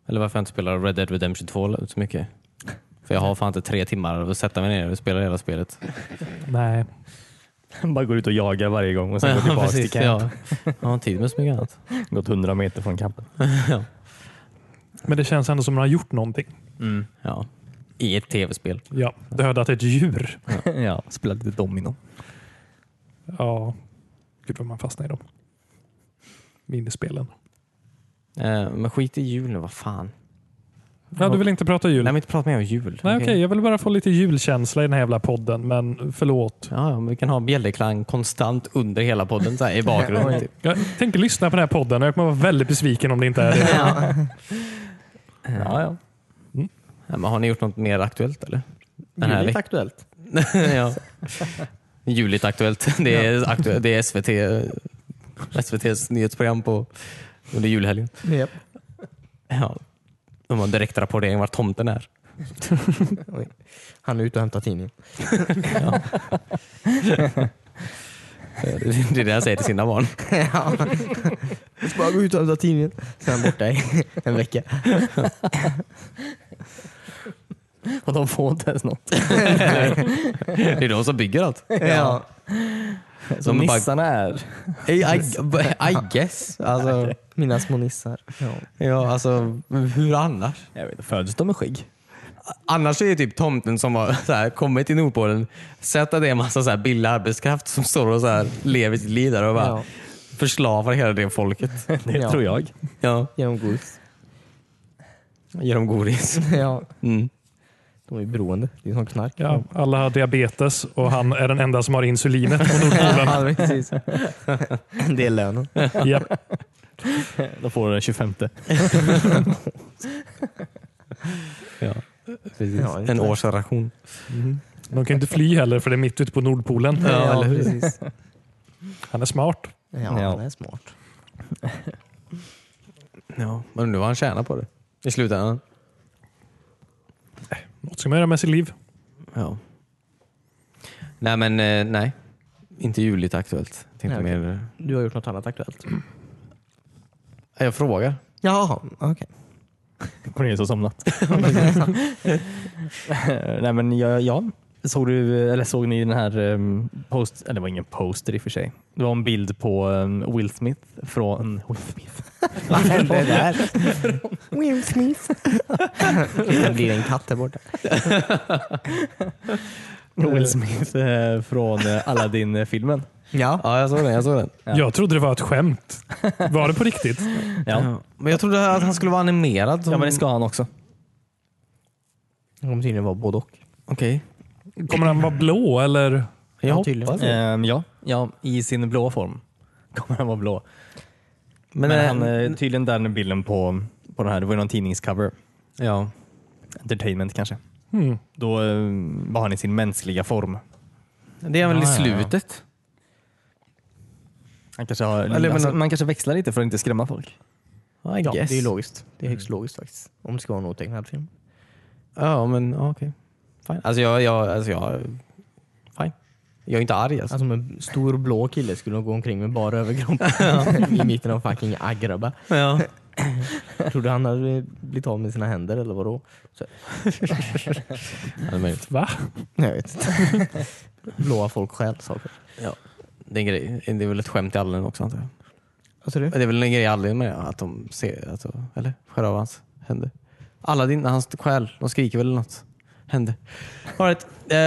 Eller varför jag inte spelar Red Dead Redemption 2 så mycket. För jag har fan inte tre timmar att sätta mig ner och spela hela spelet.
Nej.
Bara går ut och jagar varje gång och sen går
Ja,
tillbaka till
precis,
camp.
Ja. Jag har inte tid med så mycket annat.
Gått 100 meter från campen.
Men det känns ändå som att man har gjort någonting.
Mm.
Ja. I ett tv-spel.
Ja, dödat ett djur.
ja, spelat lite domino.
Ja, gud vad man fastnar i dem. Minispelen.
Eh, men skit i jul nu, vad fan.
Ja, du vill inte prata jul?
Nej,
Nej,
men inte prata mer om jul.
okej. Jag vill bara få lite julkänsla i den här jävla podden, men förlåt.
Ja, ja, men vi kan ha bjällerklang konstant under hela podden så här, i bakgrunden. typ.
Jag tänker lyssna på den här podden och jag kommer vara väldigt besviken om det inte är det.
Ja, ja.
Ja, men har ni gjort något mer aktuellt eller? Den här
Juligt
veck-
aktuellt.
ja. Juligt aktuellt. Det är, aktuellt. Det är SVT, eh, SVTs nyhetsprogram på under julhelgen.
Yep.
Ja. De har direktrapportering var tomten är.
Han är ute och hämtar tidningen.
Det är det han säger till sina barn.
Ja. Så bara gå ut och hämta tidningen. Sen är han borta i en vecka.
Och de får inte ens något.
Det är de som bygger allt.
Ja.
Så
De är bara-
nissarna är...
I, I- I guess. Alltså,
Mina små nissar. Ja.
ja, alltså, hur annars?
Jag vet inte, föds de med skägg?
Annars är det typ tomten som har så här, kommit till Nordpolen, sett att det är en massa så här, billig arbetskraft som står och så här, lever sitt liv där och bara
Ja.
förslavar hela det folket.
Det
Ja.
tror jag.
Ja,
Genom godis.
ger dem godis.
Ja.
Mm.
De är ju beroende. Det är som knark.
Ja, alla har diabetes och han är den enda som har insulinet på Nordpolen.
Ja, precis. Det är lönen.
Ja.
De får den 25.
Ja,
En årsration.
De kan inte fly heller för det är mitt ute på Nordpolen.
Ja, precis.
Han är smart.
Ja,
Ja.
han är smart.
Ja. Men nu har han tjänat på det i slutändan.
Något ska man göra med sitt liv.
Ja. Nej, men eh, nej. Inte juligt aktuellt. Tänkte
Nej, okej.
mer,
Du har gjort något annat aktuellt?
Nej, jag frågar.
Jaha, okej.
Cornelius har somnat. Nej, men jag, jag såg, du, eller såg ni den här um, post, eller det var ingen poster i och för sig. Det var en bild på um, Will Smith från Will Smith.
Vad hände där? Will Smith. Det blir en katt där borta.
Will Smith eh, från eh, Aladdin-filmen.
Ja.
Ja, jag såg den. Jag såg den.
Ja.
Jag trodde det var ett skämt. Var det på riktigt?
Ja.
Men jag trodde att han skulle vara animerad.
ja, men det ska han också.
Det kommer tydligen vara både och.
Okej.
Kommer han vara blå eller?
Jag
Ja,
hoppas
tydligen.
det.
Ehm, ja, ja, i sin blå form kommer han vara blå.
Men,
Men,
eh,
han, eh, tydligen där den bilden på, på den här, det var ju någon tidningscover.
ja.
Entertainment kanske.
Hmm.
Då eh, var han i sin mänskliga form.
Det är väl i
Ja, ja, ja.
slutet?
Han kanske har,
Eller, men-
alltså, man kanske växlar lite för att inte skrämma folk.
Ja, I
Ja, Mm.
guess.
det är logiskt. Det är högst logiskt faktiskt. Om det ska vara en otecknad film.
Ja, men ja, okej. Fine. Alltså jag, jag, alltså jag... Fine. Jag är inte arg alltså.
Alltså om en stor blå kille skulle gå omkring med bara överkropp i mitten av fucking Agraba.
Ja.
Tror du han hade blivit av med sina händer eller vadå?
det, är möjligt.
Va?
Jag vet inte. Blåa folk stjäl saker.
det är en grej. Det är väl ett skämt i Allen också antar jag.
Vad sa du?
Det är väl en grej i Allen med att de ser, alltså, eller skär av hans händer. Aladdin, när han stjäl, de skriker väl något. Händer. All right. eh,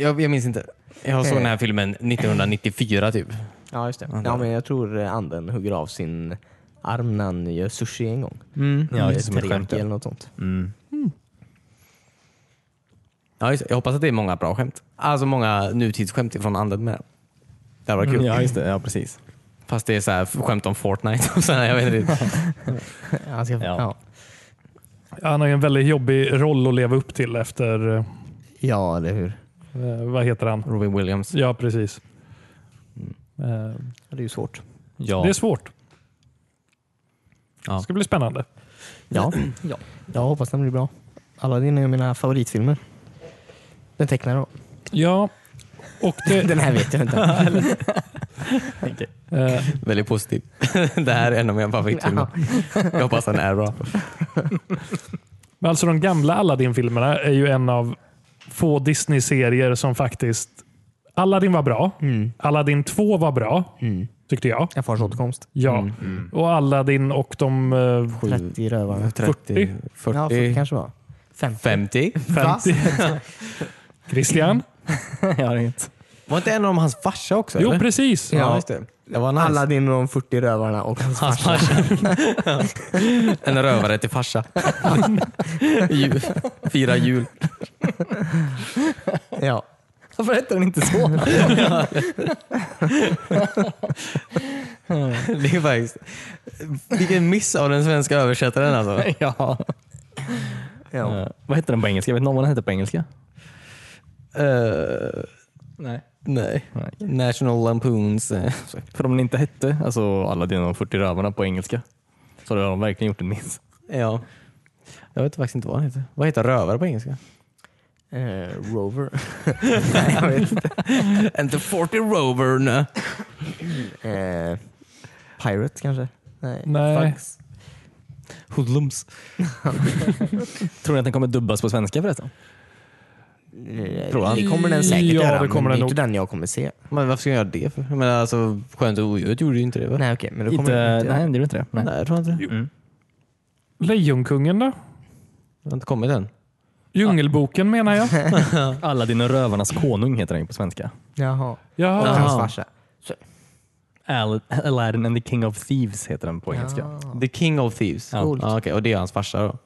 jag, jag minns inte. Eh. Jag såg den här filmen 1994 typ.
Ja, just det. Ja, men jag tror anden hugger eh, av sin arm när han gör sushi en gång.
Ja,
Med
just som ett
teriyaki
skämt.
eller
ja.
något sånt.
Ja, just, det. jag hoppas att det är många bra skämt. Alltså många nutidsskämt från andet med. Det här var kul.
Ja, just det. Ja, precis.
Fast det är så här, skämt om Fortnite och sådär. Jag vet inte.
Han, ska,
Ja.
ja.
Han har ju en väldigt jobbig roll att leva upp till efter, eh,
ja, eller hur.
vad heter han?
Robin Williams.
Ja, precis. Eh,
Mm. Ja, Det är ju svårt.
Ja.
Det är svårt.
Ja.
Det ska bli spännande.
Ja. ja. Jag hoppas den blir bra. Aladdin är ju mina favoritfilmer. Den tecknade då.
Ja, och det,
Den här vet jag inte.
eh,
Väldigt positiv. det här är en av mina favoritfilmer. Jag hoppas den är bra.
men alltså de gamla Aladdin-filmerna är ju en av få Disney-serier som faktiskt... Aladdin var bra.
Mm.
Aladdin 2 var bra,
Mm.
tyckte jag.
En fars återkomst.
Ja. Och Aladdin och de eh,
30 rövare.
30, 40,
Ja, 40 kanske var. 50.
50.
50. Christian?
jag har inget.
Var inte en av dem hans farsa också?
Jo,
eller?
precis.
Ja,
Ja.
just det. Det var nice.
Aladdin och de 40 rövarna och hans
Hans
farsa.
farsa. en rövare till farsa. Jul. Fira jul.
Ja.
Varför heter den inte så?
Det är faktiskt... Vilken miss av den svenska översättaren alltså.
ja.
ja.
Eh, vad heter den på engelska? Vet någon vad den heter på engelska?
Eh,
Nej.
nej.
Nej.
National Lampoons. eh, så.
För om den inte hette alltså, alla dina 40 rövarna på engelska så har de verkligen gjort en miss.
Ja. Jag vet faktiskt inte vad den heter. Vad heter rövare på engelska?
Eh, Rover.
Inte 40 Rover. nej.
Eh, Pirate kanske? Nej.
Nej.
Fax.
Hoodlums.
Tror ni att den kommer dubbas på svenska förresten?
Eh,
Tror han.
Det kommer den säkert
Ja,
göra,
det kommer
men det är
den
inte den jag kommer se.
Men varför ska jag göra det för? Jag menar alltså, Skönt och odjuret gjorde ju inte det va?
Nej okej, men då kommer den
Inte,
inte
nej,
göra.
det gjorde inte det. Nej. Mm.
Nej, jag tror inte det.
Lejonkungen då?
Det har inte kommit än.
Djungelboken menar jag.
Alla dina rövarnas konung heter den på svenska.
Jaha. Och
Ja.
Ja.
hans farsa.
Al- Aladdin and the King of Thieves heter den på engelska. Ja,
Ah.
The King of Thieves. Ja.
Coolt.
okej. Och det är hans farsa då?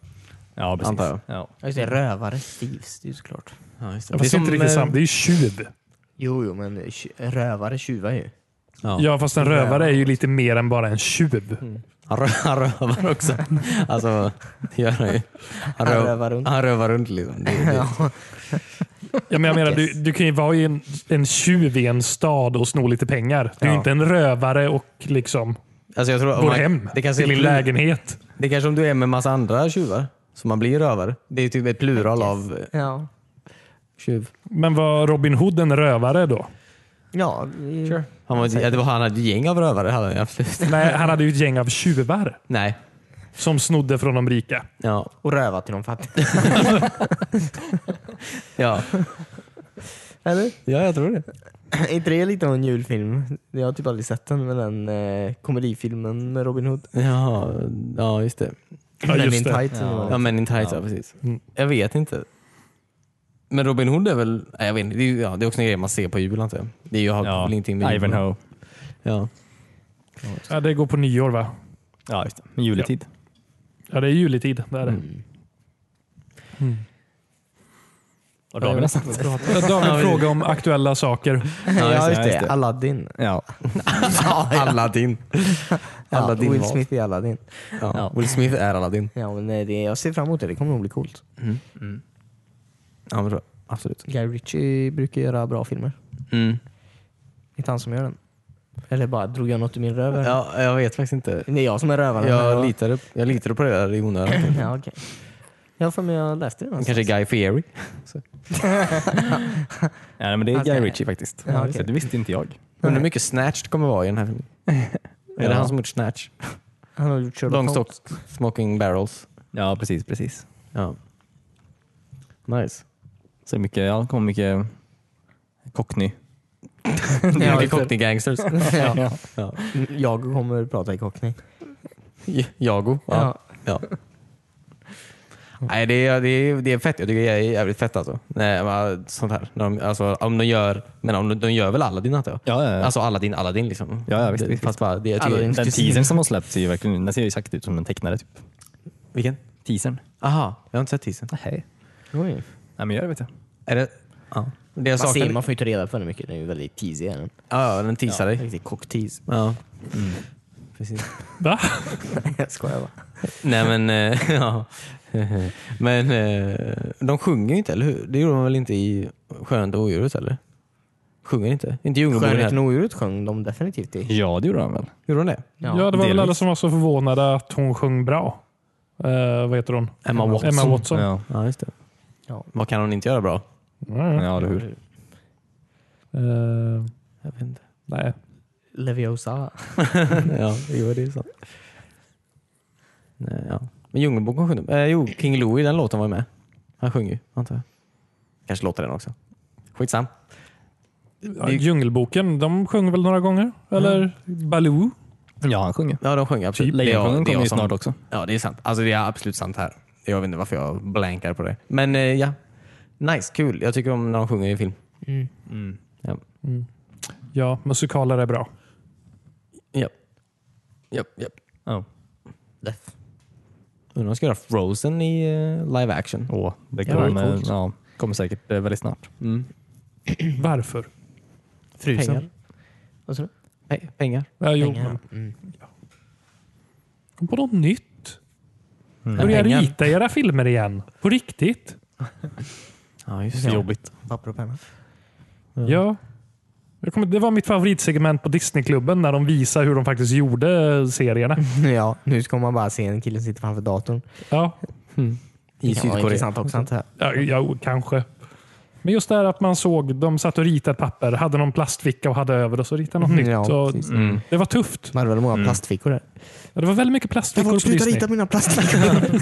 precis.
Antar jag.
Ja.
Ja, just det, rövare Steves, det är ju såklart.
Ja, just
Fast det är inte riktigt
eh,
sant. Det är ju tjuv.
Jo, jo, men tju- rövare tjuvar ju.
Ja.
Ja, fast en rövare är Mm. ju lite mer än bara en tjuv.
Han, rö- han rövar också. Alltså, det gör han ju. Han,
Han
röv-
rövar runt.
Han rövar runt liksom. Det, det.
Ja, men jag menar, du, du kan ju vara i en, en tjuv i en stad och sno lite pengar. Du är ju
Ja.
inte en rövare och liksom
Alltså, jag tror, om
går
man-
hem
Det kanske,
till
är
din
plu-
lägenhet.
det kanske om du är med massa andra tjuvar som man blir rövare. Det är typ ett plural av eh,
Ja.
tjuv.
Men var Robin Hood en rövare då?
Ja, det är ju-
Han, var, ja, det var, han hade ett gäng av rövare. Hade han, ju absolut.
Nej, han hade ju ett gäng av tjuvar
Nej.
som snodde från de rika.
Ja.
och röva till de fattiga.
Ja.
Eller?
ja, jag tror det.
Är inte det lite av en julfilm? Jag har typ aldrig sett den, men den eh, komedifilmen med Robin Hood.
Ja, ja just det.
Ja,
Men
just
in
det.
tights, eller vad det.
Ja, Men in Tights, ja. precis. Jag vet inte. Men Robin Hood är väl... Nej, jag vet inte. Det är, ju- ja, det är också en grej man ser på jul antar jag. Det är ju, har väl ingenting med jul.
Ivanhoe.
Ja.
Ja, det går på nyår va?
Ja, just det. Med Juletid.
Ja, det är juletid. Det är det.
Och då har vi nästan...
Ja, David frågar om aktuella saker.
Ja,
just det,
just
just
det.
det.
Aladdin.
Ja.
Aladdin.
Ja,
Aladdin
Will
var-
Smith i Aladdin.
Ja. Will Smith är Aladdin.
Ja, men eh, det, jag ser fram emot det. Det kommer nog bli coolt.
Ja, men då, absolut.
Guy Ritchie brukar göra bra filmer. Inte han som gör den. Eller bara, drog jag något ur min röv? här?
Ja, jag vet faktiskt inte.
Det är jag som är rövaren.
Jag
lite.
litade, jag litade på det där i onödan.
Ja, okej. Jag har för mig jag läste det någonstans.
Kanske Guy Fieri.
ja, men det är
Okej.
Guy Ritchie faktiskt.
Ja, okej.
Så det visste inte jag.
Undrar hur mycket Snatched kommer vara i den här filmen. Är det
Ja.
han som gjort Snatch?
Han har gjort Sherlock
Long
Holmes.
stock, Smoking Barrels.
Ja, precis. precis.
Ja. Nice.
Så det är mycket, ja, det kommer mycket cockney.
Det
Ja,
är mycket
just det.
Cockney Gangsters.
ja.
Ja.
Jag kommer prata i cockney.
Jago. Ja. Ja. Nej, det är, det, är, det är fett. Jag tycker det är jävligt fett alltså. Nej, men sånt här. När de, alltså, om de gör, men om de, de gör väl Aladdin antar jag?
Ja, ja, ja.
Alltså Aladdin, Aladdin liksom.
Ja, ja, visst,
Det-
visst,
Fast bara, det, jag tycker,
Aladdin.
Den teasern som har släppts är ju verkligen, den ser ju exakt ut som en tecknare. Typ.
Vilken?
Teasern?
Aha, jag har inte sett teasern.
Nej.
Oj.
Nej, men gör det vet jag.
Är det? Ja. Det jag
Man, ser,
saknade,
man får ju inte reda på det mycket. Den är ju väldigt teasy. är Den.
Ja, ja, den teasar dig.
Riktig cocktease.
Ja. Precis.
Va?
Jag skojar bara.
Nej men, eh, ja. Men eh, de sjunger ju inte, eller hur? Det gjorde de väl inte i Skönheten och odjuret eller? Sjunger inte? Inte Djungelboken
Skönheten
heller?
och odjuret sjöng de definitivt i.
Ja, det gjorde han väl?
Gjorde de det?
Ja, det var väl
delvis.
alla som var så förvånade att hon sjöng bra. Eh, vad heter hon?
Emma Watson.
Emma Watson.
Ja,
Ja, just det.
Ja.
Vad kan hon inte göra bra?
Mm.
ja eller hur.
Eh,
Jag vet inte.
nej.
Leviosa.
ja, jo, det är sant. Nej, ja. Men Djungelboken sjunger eh, Jo, King Louie, den låten var ju med. Han sjunger ju, antar jag. Kanske låter den också. Skitsam.
Ja, Djungelboken, de sjöng väl några gånger? Eller Baloo?
Ja, han sjunger. Typ
Ja, de Typ. sjunger absolut. Det är jag-
Lejonkungen
det
kommer
är jag
ju
som-
snart också.
Ja, det är sant. Alltså det är absolut sant här. Jag vet inte varför jag blankar på det. Men eh, ja, nice, kul. Jag tycker om när de sjunger i film. Mm.
Ja, musikaler är bra.
Japp. Japp, japp.
Ja.
Def.
Undrar om de ska göra Frozen i eh, live action.
Åh, det
Ja, det är
kommer,
coolt.
ja, kommer säkert eh, väldigt snart.
Mm.
Varför?
Pengar.
Vad sa du?
Pe- pengar.
Ja, jo,
Pengar.
men
Mm.
kom på något nytt.
Mm.
Börja
Pengar.
rita era filmer igen. På riktigt.
Ja, just
Det är
det.
jobbigt.
Papper och penna.
Ja. Jag kommer, det var mitt favoritsegment på Disneyklubben när de visar hur de faktiskt gjorde serierna.
Mm. Ja, nu ska man bara se en kille som sitter framför datorn.
Ja,
I
Det kan vara
Sydkorea.
intressant också antar jag.
ja, ja kanske. Men just det här att man såg, de satt och ritade ett papper, hade någon plastficka och hade över och så ritade något
Mm,
nytt.
ja,
och
precis.
Mm.
det var tufft.
Man hade väl många plastfickor där.
Ja, Det var väldigt mycket plastfickor på Disney.
mina plastfickor.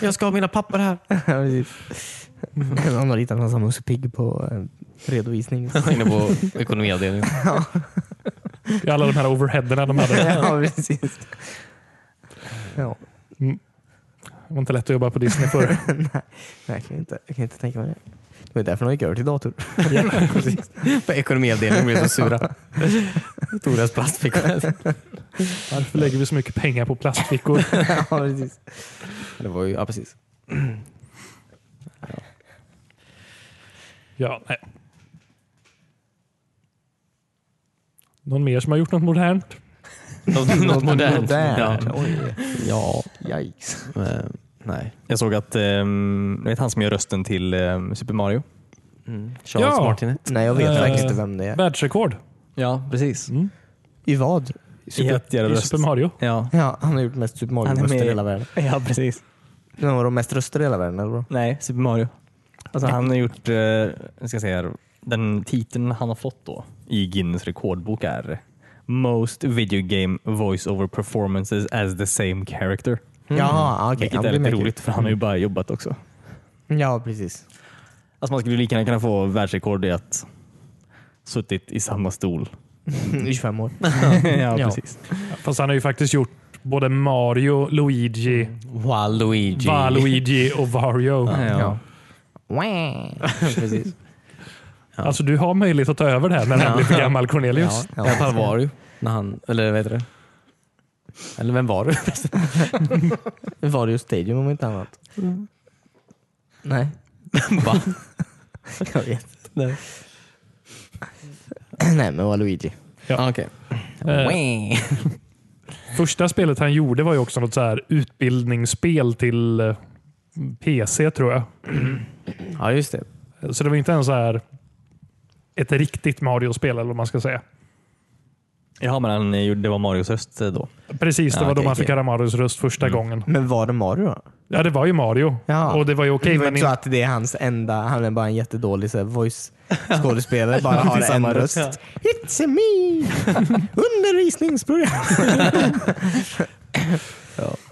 Jag ska ha mina papper här.
Någon har ritat massa Musse Pigg på en redovisning.
Inne på ekonomiavdelningen.
I alla de här overheaderna de hade.
ja, precis. Ja,
Det var inte lätt att jobba på Disney förr.
verkligen inte. Jag kan inte tänka mig det. Det var därför de gick över till dator.
på ekonomiavdelningen blev så sura. Tog deras plastfickor.
Varför lägger vi så mycket pengar på plastfickor?
ja, precis.
Det var ju, ja precis.
Ja, nej. Någon mer som har gjort något modernt?
Något, något modernt.
Modernt.
Ja.
Oj,
ja.
yikes.
Men, nej.
Jag såg att, ehm, ni vet han som gör rösten till ehm, Super Mario?
Charles
Ja.
Martinet.
Nej, jag vet
Eh,
faktiskt inte vem det är.
Världsrekord
Ja, precis.
mm.
I vad?
I
Super...
att göra
i
röst.
Super Mario.
Ja.
Ja, han har gjort mest Super
Han är
Mario-röster i
med-
hela världen.
ja, precis.
Han har de mest röster i hela världen, eller vadå?
Nej, Super Mario. Alltså, han har gjort, eh, jag ska säga, den titeln han har fått då i Guinness rekordbok är Most video game voice over performances as the same character.
Jaha, ah, okej.
Vilket
han
är
blir
lite
mer kul. Mm.
roligt för han har ju bara jobbat också.
Ja, precis.
Alltså man skulle lika gärna kunna få världsrekord i att suttit i samma stol.
I 25 år.
ja,
Ja.
precis.
Fast han har ju faktiskt gjort både Mario, Luigi,
Waluigi.
Valuigi och Wario.
Mm. Ja. Ja.
precis.
Alltså du har möjlighet att ta över det här när han blir för gammal Cornelius.
I alla fall var du. När han, eller vad heter det? Eller vem var du?
Var det ju Stadium om inte annat? Nej,
Va?
jag vet inte.
Nej.
Nej, men var Luigi.
Ja. Ah, Okej.
Eh, första spelet han gjorde var ju också något så här utbildningsspel till eh, PC tror jag.
Ja, just det.
Så det var inte ens så här ett riktigt Mario-spel eller vad man ska säga.
Jaha, men han gjorde, det var Marios röst då.
Precis, det
Ja,
var
okej,
då man fick
okej.
höra Marios röst första gången.
Men var det Mario då?
Ja, det var ju Mario.
Ja.
Och det var ju okej.
men
men
så
in-
att det är hans enda, han är bara en jättedålig så här, voice skådespelare, bara har
Till samma
en röst.
röst,
It's a me! Undervisningsprogram!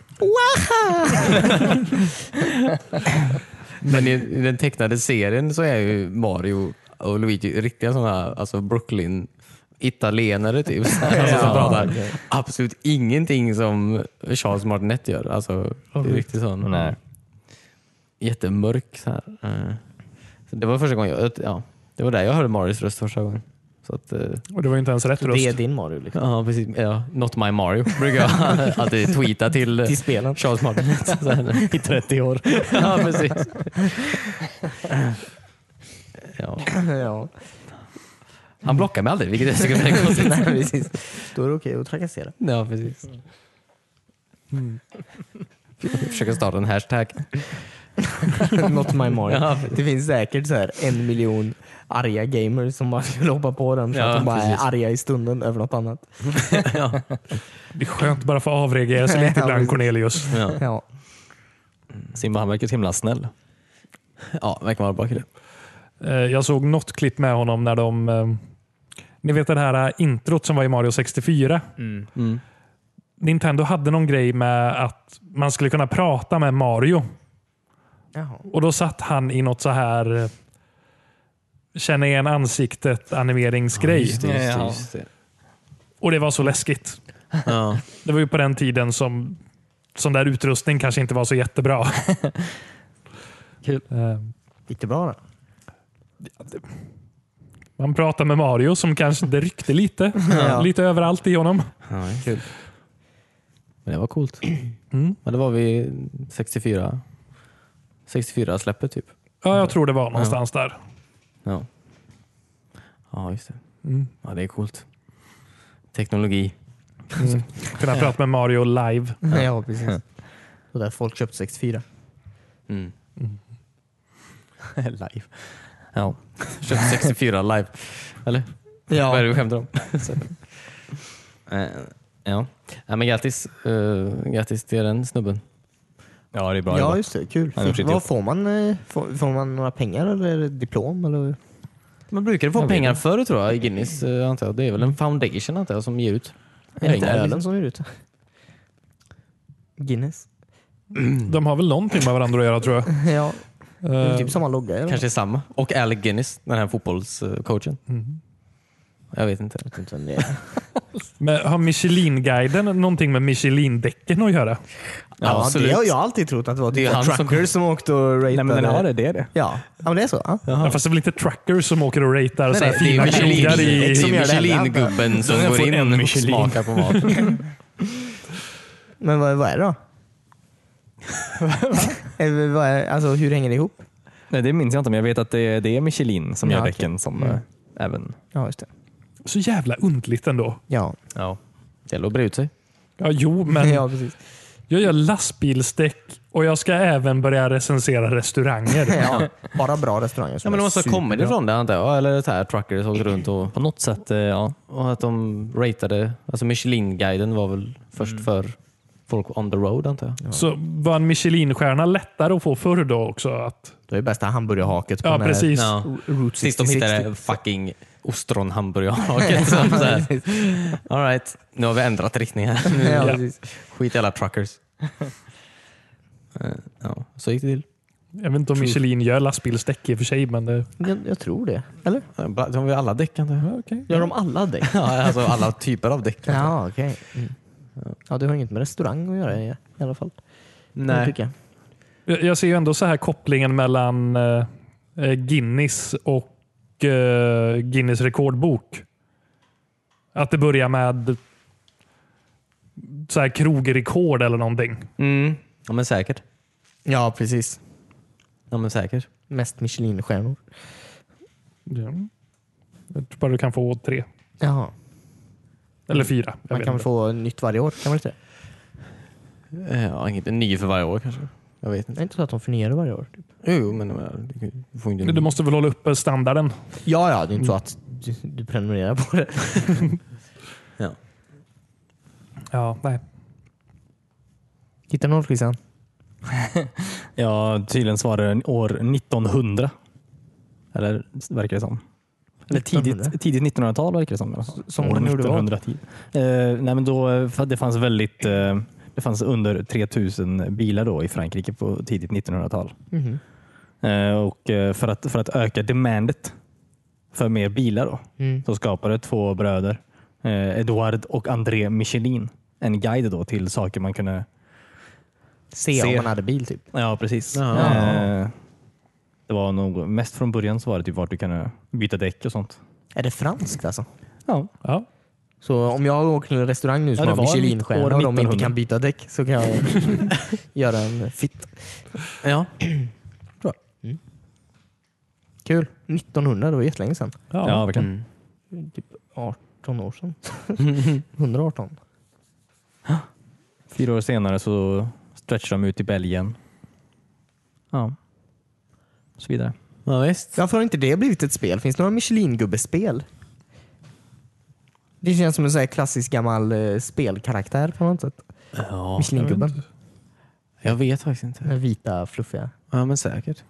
Waha!
Men i, i den tecknade serien så är ju Mario och Luigi riktiga sådana alltså Brooklyn italienare typ. Alltså, som
Ja.
pratar absolut ingenting som Charles Martinet gör. Alltså, det är riktigt sån.
Nej.
jättemörk. Så här. Eh, Så det var första gången jag, ja, det var där jag hörde Marios röst första gången. Så att, eh,
Och det var ju inte ens rätt
Det är
röst.
din Mario. Liksom.
ja, precis. Ja, not my Mario brukar jag alltid tweeta till, eh,
Till spelen.
Charles Martin så här, i 30 år. ja, precis. ja.
ja.
Han blockar mig aldrig, vilket jag tycker är väldigt konstigt.
Nej, precis. Då är det okej att trakassera.
Ja, precis. Mm. Försöker starta en hashtag.
Not my Mario.
Ja,
det finns säkert så här en miljon arga gamers som bara skulle hoppa på den för
Ja,
att de bara
precis.
är arga i stunden över något annat.
Det är skönt bara för att avreagera sig lite
Ja,
ibland
precis.
Cornelius.
Ja,
Ja.
Simba han verkar så himla snäll.
ja verkar vara en bra kille.
Eh, Jag såg något klipp med honom när de... eh, Ni vet det här eh, introt som var i Mario 64?
Mm.
Nintendo hade någon grej med att man skulle kunna prata med Mario.
Jaha.
Och då satt han i något så här eh, känna igen ansiktet animeringsgrej.
Ja.
det.
och det var så läskigt.
Ja.
Det var ju på den tiden som sån där utrustning kanske inte var så jättebra.
Kul.
Eh,
Gick det bra då?
Man pratar med Mario som kanske det ryckte lite.
Ja.
Lite överallt i honom.
Ja, kul. Men det var coolt.
Mm.
Men det var vi 64 64 släppet typ.
Ja, jag tror det var någonstans där.
Ja. ja, just det.
Mm.
Ja, det är coolt. Teknologi.
Mm. Kunna prata med Mario live.
Ja, precis. Och där folk köpte 64.
Mm.
Live.
Ja. Köpte 64 live. Eller? Vad är det
Ja.
du skämtar om? Så. Eh, ja. ja, men grattis. eh, grattis till den snubben.
Ja, det är bra
Ja,
jobbat.
just det. Kul.
Han har gjort sitt
Vad
jobb.
får man? eh, Får, får man några pengar eller diplom? Eller?
Man brukade få
Jag vet
pengar
inte.
förr tror jag, i Guinness. eh, antar jag. Det är väl en foundation antar jag, som ger ut
Är det inte
pengar.
ölen som är ute? Guinness?
De har väl någonting med varandra att göra tror jag.
Ja, det är
Eh,
typ samma logga. Eller?
Kanske är samma. Och Alec Guinness, den här fotbollscoachen.
Mm.
Jag vet inte.
Jag vet inte vem det är.
Men har Michelin-guiden någonting med Michelin-däcken att göra?
Ja,
absolut.
det har jag alltid trott att det var
Det är
typ det
han som-
truckers som, åkte och ratade.
Nej, men den har det, det är det.
Ja, ja men det är så. Ja.
Ja, fast det är väl inte trackers som åker och ratear så här
Nej, det
fina
är Michelin-
krogar
det
i...
är
som gör det här.
Michelin-gubben som
Den har
går
fått en
in och
Michelin.
smakar på maten.
Men vad, vad är det då? Eh, vad är, alltså, hur hänger det ihop?
Nej, det minns jag inte, men jag vet att det är, det är Michelin som
Ja,
gör
okej.
däcken som eh, även...
Ja, just det.
Så jävla undligt ändå.
Ja,
Ja.
Det låter bra ut sig.
Ja, jo, men
ja precis.
jag gör lastbilsdäck och jag ska även börja recensera restauranger.
Ja, bara bra restauranger. som
Ja, men
är
de måste ha
super-
kommit ifrån det antar jag. Eller så här, truckers åkte runt och,
På något sätt, eh, ja.
och att de ratade. Alltså Michelin-guiden var väl först
Mm.
för folk on the road antar jag.
Så var en Michelinstjärna lättare att få förr då också? Att,
Det är det bästa hamburgerhaket på
ja,
den här
precis.
Ja.
Route
Tills de
66.
hittade fucking ostronhamburgarhaket. som så här, All right, nu har vi ändrat riktning här. Nu-
Ja,
Ja.
precis.
Skit i alla truckers. Eh, ja, så gick det till.
Jag vet inte om Michelin gör lastbilsdäck i och för sig, men eh, det...
Jag, jag tror det. Eller?
Eh, bra- De har ju alla däck antar jag.
Gör de alla däck?
Ja, alltså alla typer av däck. antar jag.
Ja, okej. Mm. Ja, det har inget med restaurang att göra i, i alla fall. Det
Nej.
tycker jag.
Jag, jag ser ju ändå så här kopplingen mellan eh, eh, Guinness och eh, Guinness rekordbok. Att det börjar med så här krogrekord eller någonting.
Mm. Ja men säkert.
Ja, precis.
Ja men säkert.
Mest Michelinstjärnor.
Ja. Jag tror bara du kan få tre.
Jaha.
Eller fyra. Jag
Man
vet
kan
inte.
få nytt varje år, kan man inte det?
Eh, Ja, inget, en ny för varje år kanske. Jag vet
Det
inte.
är inte så att de förnyar det varje år. Typ.
Jo, jo, men jag menar, du får inte en
Men Du
ny.
måste väl hålla uppe standarden?
Ja, ja, det är inte så att du, du prenumererar på det.
Ja.
Ja, nej.
Hittar du något Christian?
ja, tydligen svarade den år 1900. Eller verkar det som. Eller tidigt,
1900?
tidigt 1900-tal verkar det som. i alla fall.
Som
år
de gjorde vad?
1910. Eh, nej, men då, eh, för att det fanns väldigt... Eh, det fanns under 3000 bilar då i Frankrike på tidigt 1900-tal.
Mhm.
Eh, och eh, för att, för att öka demandet för mer bilar då,
Mm.
så skapade två bröder, eh, Edouard och André Michelin, en guide då till saker man kunde
Se,
Se.
om man hade bil typ.
Ja, precis.
Ja.
Eh, det var nog mest från början så var det typ vart du kan eh, byta däck och sånt.
Är det franskt alltså?
Ja,
Ja.
Så om jag åker till en restaurang nu som
Ja, det
har
var
Michelinstjärna
år
och de inte
1900.
kan byta däck så kan jag göra en fitt.
Ja.
Kul. 1900, det var jättelänge sedan.
ja.
Ja.
verkligen.
18 år sedan. 118.
Fyra år senare så stretchade de ut i Belgien. Ja. Och så vidare.
ja, visst.
Varför har inte det blivit ett spel? Finns det några Michelin-gubbespel? Det känns som en sån här klassisk gammal eh, spelkaraktär på något sätt.
Ja.
Michelin-gubben.
Jag vet faktiskt inte.
Den vita fluffiga.
Ja, men säkert.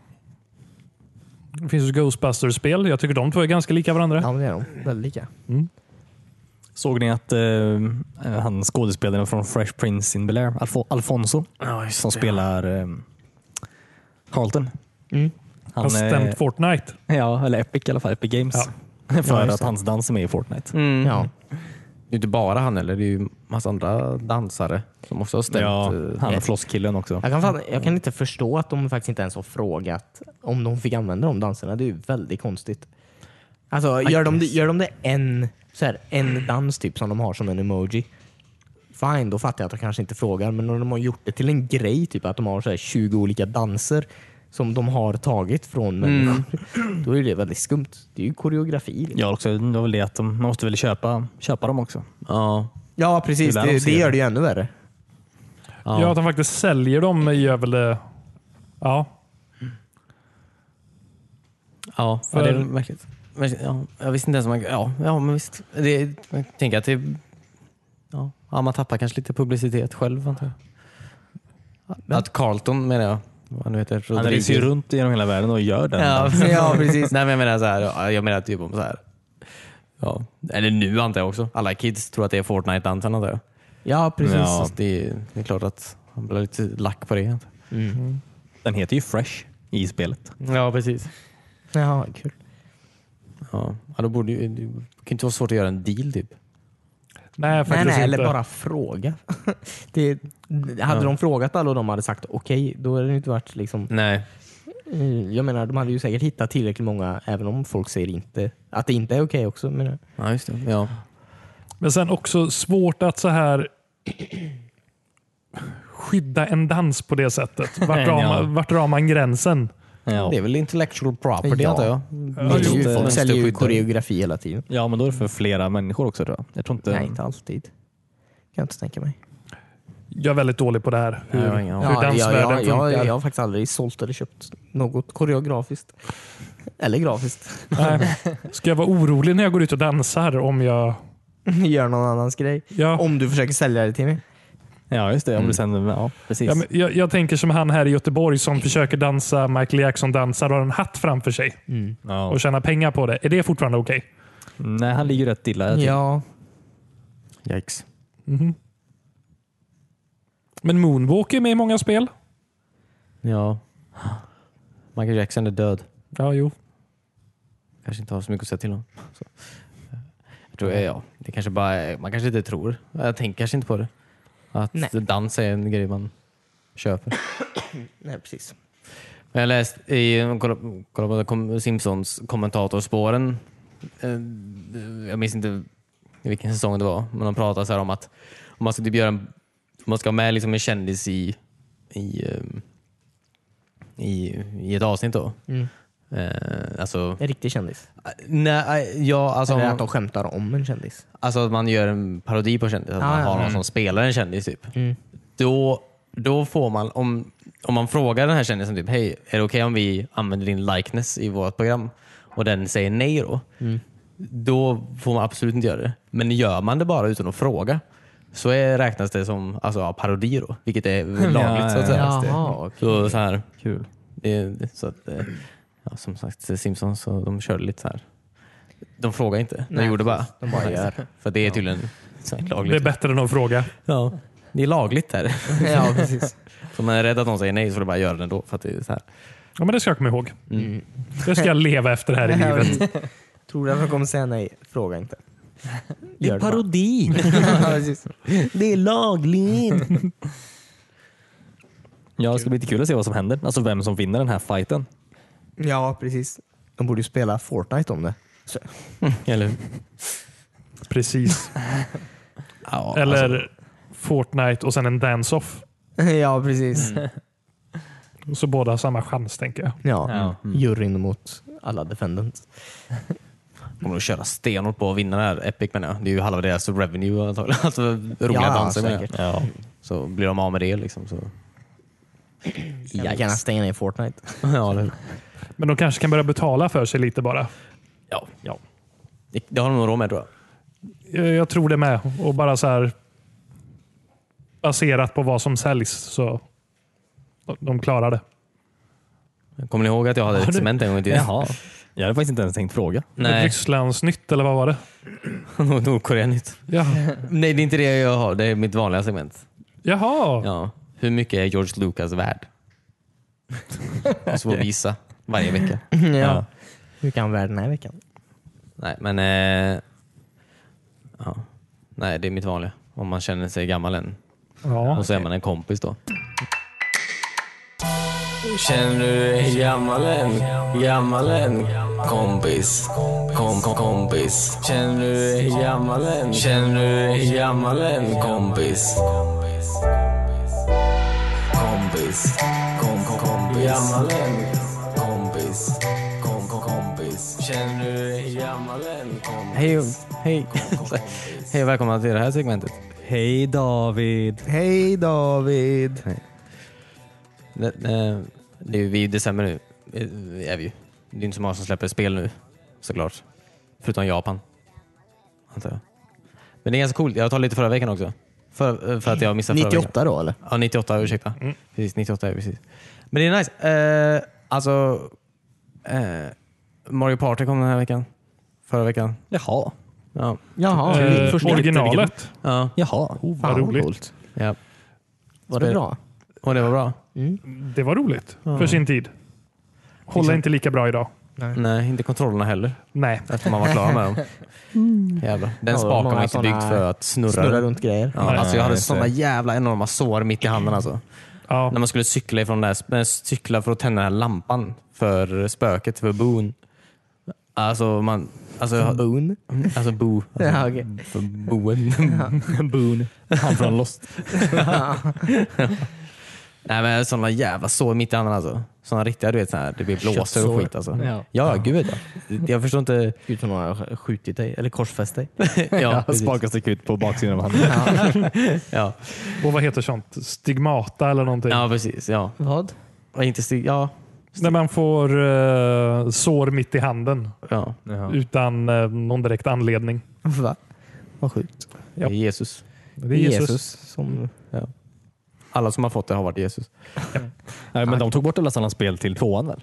Det finns ju Ghostbusters-spel. Jag tycker de två är ganska lika varandra.
Ja, men det är de. Väldigt lika.
Såg ni att eh, han skådespelaren från Fresh Prince in Bel-Air, Alfo- Alfonso,
Ja, just
som spelar eh, Carlton.
Mm.
Han har
eh,
stämt Fortnite.
Ja, eller Epic i alla fall. Epic Games. För att hans dans är med i Fortnite.
Mm.
Ja.
Det är inte bara han eller det är ju massa andra dansare som också har stämt.
Ja,
eh,
han är flosskillen också.
Jag kan, fan, jag kan inte förstå att de faktiskt inte ens har frågat om de fick använda de danserna. Det är ju väldigt konstigt. Alltså, gör, de, det- gör de det en, så här, en dans typ som de har som en emoji, fine, då fattar jag att de kanske inte frågar. Men när de har gjort det till en grej, typ att de har så här 20 olika danser som de har tagit från människor, då är det väldigt skumt. Det är ju koreografi. liksom.
Ja, också, det var väl det att de, man måste väl köpa, köpa dem också.
Ja.
Ja, precis.
Det är där de
Det,
ser
det gör
det.
det ju ännu värre.
Ja.
Ja, att de faktiskt säljer dem gör väl det. Ja,
Ja,
För-
det är märkligt. Men, Ja, jag visste inte ens om man... Ja, ja men visst. Det, jag tänker att det... Ja, ja, man tappar kanske lite publicitet själv antar jag. Att Carlton menar jag. Vad han nu heter.
Han reser ju
Rodriguez.
runt genom hela världen och gör den.
Ja, ja precis. Nej, men jag menar så här, ja, jag menar typ om så här. Ja. Eller nu antar jag också. Alla kids tror att det är Fortnite-dansen antar jag.
Ja, precis.
Ja.
Så det, är- det är klart att han blir lite lack på det. antar
Den heter ju Fresh i spelet.
jag. Ja, precis.
Jaha, kul.
Ja. Ja, då borde ju, det kan ju inte vara svårt att göra en deal typ.
nej
Nej,
faktiskt
nej,
inte.
eller bara fråga. det, hade de frågat alla och de hade sagt okej, då hade det inte varit liksom...
Nej.
eh,
Mm.
Jag menar, de hade ju säkert hittat tillräckligt många, även om folk säger inte att det inte är okej också. Men, eh,
Ja, just det. Ja.
Men sen också svårt att så här skydda en dans på det sättet. Vart drar man, vart drar man gränsen?
Ja.
Det är väl intellectual property
Ja.
antar jag.
det är ju,
inte-
folk säljer ju
mönsterskydd.
koreografi hela tiden.
ja, men då är det för flera människor också tror jag. Jag tror inte...
Nej, inte alltid. Kan jag inte tänka mig.
Jag är väldigt dålig på det här. Hur,
Nej, jag har ingen aning.
hur dansvärlden
jag, jag,
funkar.
jag, jag har faktiskt aldrig sålt eller köpt något koreografiskt. Eller grafiskt.
Nej. Ska jag vara orolig när jag går ut och dansar om jag...
Gör någon annans grej.
Ja.
Om du försöker sälja det till mig.
Ja, just det. Om du sen, ja, precis.
Ja, men jag, jag tänker som han här i Göteborg som försöker dansa Michael Jackson-dansar och har en hatt framför sig
ja.
och tjänar pengar på det. Är det fortfarande okej?
Nej, han ligger rätt illa
typ.
till.
Ja,
Yikes.
Men Moonwalk är med i många spel.
Ja. Michael Jackson är död.
Ja, jo.
Kanske inte har så mycket att säga till om. Så. Jag tror, ja, det kanske bara, man kanske inte tror. Jag tänker kanske inte på det. Att
Nej.
dans är en grej man köper.
nej, precis.
Men Jag läste i kolla, kolla på kom- Simpsons kommentatorspåren. Eh, Jag minns inte i vilken säsong det var, men de pratade så här om att om man ska typ göra en, om man ska ha med liksom en kändis i, i, eh, i, i ett avsnitt då.
Mm.
Eh, alltså,
En riktig kändis.
nej, ja, alltså, om
Eller
man-
att de skämtar om en kändis.
Alltså att man gör en parodi på en kändis, att
Ja,
man
ja.
har någon som spelar en kändis. Typ. Då, då får man, om, om man frågar den här kändisen typ, hej, är det okej om vi använder din likeness i vårt program? Och den säger nej då. Då får man absolut inte göra det. Men gör man det bara utan att fråga så är, räknas det som alltså, ja, parodi då, vilket är lagligt. så att säga.
Ja, just det.
Så, så här,
Kul.
det, det- så att, eh, ja, som sagt, Simpsons så de körde lite så här. De frågade inte. De
Nej,
gjorde bara.
de bara gör.
För det är tydligen så här
Det är
lagligt.
bättre än att fråga.
ja. Det är lagligt där.
ja, precis.
Så man är rädd att någon säger nej så får du bara göra det ändå. För att det är så här.
Ja, men det ska jag komma ihåg.
Mm.
Det ska jag leva efter här i livet.
Tror du att de kommer säga nej? Fråga inte.
Det är parodi!
Ja, precis.
det är lagligt!
Ja, det ska bli lite kul att se vad som händer. Alltså vem som vinner den här fighten.
Ja, precis. De borde ju spela Fortnite om det.
Eller hur?
Precis.
Ja,
Eller
alltså,
Fortnite och sen en dance-off.
ja, precis.
Så båda har samma chans tänker jag.
Ja.
Ja.
Juryn mot alla defendants.
kommer att köra stenhårt på att vinna det här Epic menar jag. Det är ju halva deras revenue antagligen. Alltså roliga
Ja,
danser menar jag.
säkert.
Ja. Så blir de av med det liksom. Så.
Kan vi gärna stänga ner Fortnite.
Ja, eller hur?
Men de kanske kan börja betala för sig lite bara.
ja. ja. Det, det har de nog råd med tror jag.
Jag, jag tror det med. Och bara så här baserat på vad som säljs så de klarar det.
Kommer ni ihåg att jag hade
Har
ett
du-
cement en gång i tiden?
Jaha. Jag hade faktiskt inte ens tänkt fråga.
Nej,
Rysslands nytt eller vad var det?
Nordkoreanytt.
Ja.
Nej, det är inte det jag har. Det är mitt vanliga segment.
Jaha,
Ja. Hur mycket är George Lucas värd? Och så får vi visa varje vecka.
ja. Hur kan världen den här veckan?
Nej, men... Eh, ja. Nej, det är mitt vanliga. Om man känner sig gammal än.
ja.
Och så är man en kompis då.
Känner du dig gammal än? Gammal än? Kompis. Kom, kom, kompis. Känner du dig gammal än? Känner du dig gammal än? Kompis. Kompis. Kom, kom, kompis. Gammal än? Kompis. Kom, kom, kompis. Känner du dig gammal än? Kompis.
Hej och, hej. hej och välkomna till det här segmentet.
Hej David!
Hej David!
Det, eh, det är ju, vi är i december nu. Eh, Är vi ju. Det är inte så många som släpper spel nu såklart. Förutom Japan. Antar jag. Men det är ganska coolt. Jag tar lite förra veckan också. För, eh, för att jag missade förra veckan.
98 då eller?
Ja, 98. Ursäkta.
Mm.
Precis, 98 är precis. Men det är nice. Eh, alltså, eh, Mario Party kom den här veckan. Förra veckan.
Jaha.
Ja.
Jaha,
Eh,
första-
originalet.
ja.
Jaha.
Vad roligt.
coolt.
ja.
Var det
Spel-
bra?
Och det var bra.
Det var roligt för sin tid. Håller
Exakt.
inte lika bra idag.
Nej, inte kontrollerna heller.
Nej.
Efter man var klar med dem. Jävlar. Den
Ja,
spaken
många
var inte byggd
såna-
för att snurra.
Snurra
den.
runt grejer.
Ja, alltså jag hade
just det.
sådana jävla enorma sår mitt i handen alltså.
Ja.
När man skulle cykla, ifrån där, eh, cykla för att tända den här lampan för spöket, för boon. Alltså, man, alltså,
Boon.
alltså bo. Alltså,
Ja, okej.
För boen.
Boone. Han från Lost.
Nej men sådana jävla sår mitt i handen alltså. Sådana riktiga, du vet sådana här, det blir blåsor och
Köttsår.
skit alltså.
Ja.
Ja, ja gud ja. Jag förstår inte.
Utan att ha skjutit dig eller korsfäst dig.
Ja, precis.
Spaken sticker ut på baksidan av handen.
ja.
Och vad heter sånt? Stigmata eller någonting?
ja precis. Ja.
Vad?
Och inte stig... Ja.
När man får eh, sår mitt i handen
ja.
utan eh, någon direkt anledning.
Va? Vad sjukt.
Ja.
Jesus.
Det är Jesus. Mm.
som...
Alla som har fått det har varit Jesus.
Nej, men de tog bort alla sådana spel till tvåan väl?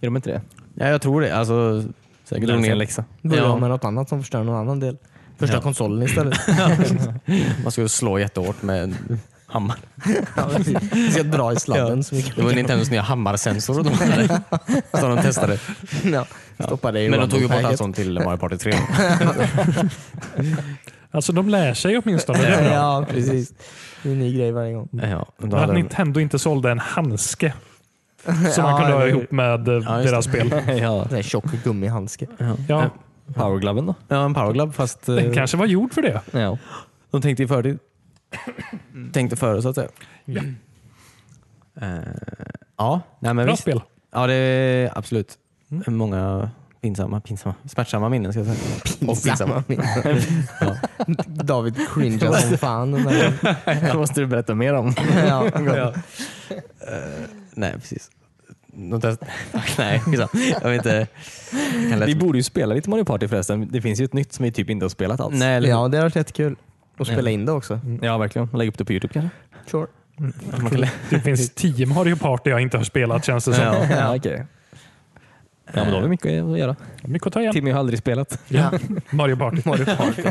Är de inte det?
Ja, jag tror det. Alltså, liksom.
Säkert lär sig en läxa.
Börja
Ja.
med något annat som förstör någon annan del. Första konsolen istället.
Man skulle slå jättehårt med en hammare.
Ja, precis. Vi ska dra i sladden så mycket.
Det var Nintendos nya hammarsensor de hade. Så de testade.
Ja. Stoppa det i
Men de tog ju bort allt
rumble-packet.
sånt till Mario Party 3.
Alltså de lär sig åtminstone. Det är bra.
Ja, precis. Det är en ny grej varje gång.
Ja, men då
Men att
hade de,
Nintendo inte sålde en handske som
Ja,
man kunde ha
eller hur?
ihop med eh,
just
deras spel.
ja.
En sån här tjock gummihandske.
Ja,
Powergloven då?
ja, en powerglove fast eh,
den kanske var gjord för det.
Ja.
de tänkte i förtid. Tänkte före så att säga. Eh, ja, nej, men
Bra
visst.
spel.
Ja, det är absolut. Många pinsamma, pinsamma, smärtsamma minnen ska jag säga. Och pinsamma.
minnen. David cringear som fan. den där-
Det måste du berätta mer om.
Ja.
Eh, Nej, precis. De test... nej, skitsamma. jag vet inte. Jag kan lätt-
Vi borde ju spela lite Mario Party förresten. Det finns ju ett nytt som vi typ inte har spelat alls.
Nej, eller
ja, det har varit jättekul. Och spela in det också.
Mm.
Ja, verkligen. Lägg upp det på Youtube kanske?
Sure.
Man kan lä-
Det finns tio Mario Party jag inte har spelat känns det som.
Ja. Eh.
Ja, okej. Ja, men då har vi mycket att göra.
Mycket att ta igen.
Timmy har aldrig spelat.
Ja. Mario Party.
Mario Party.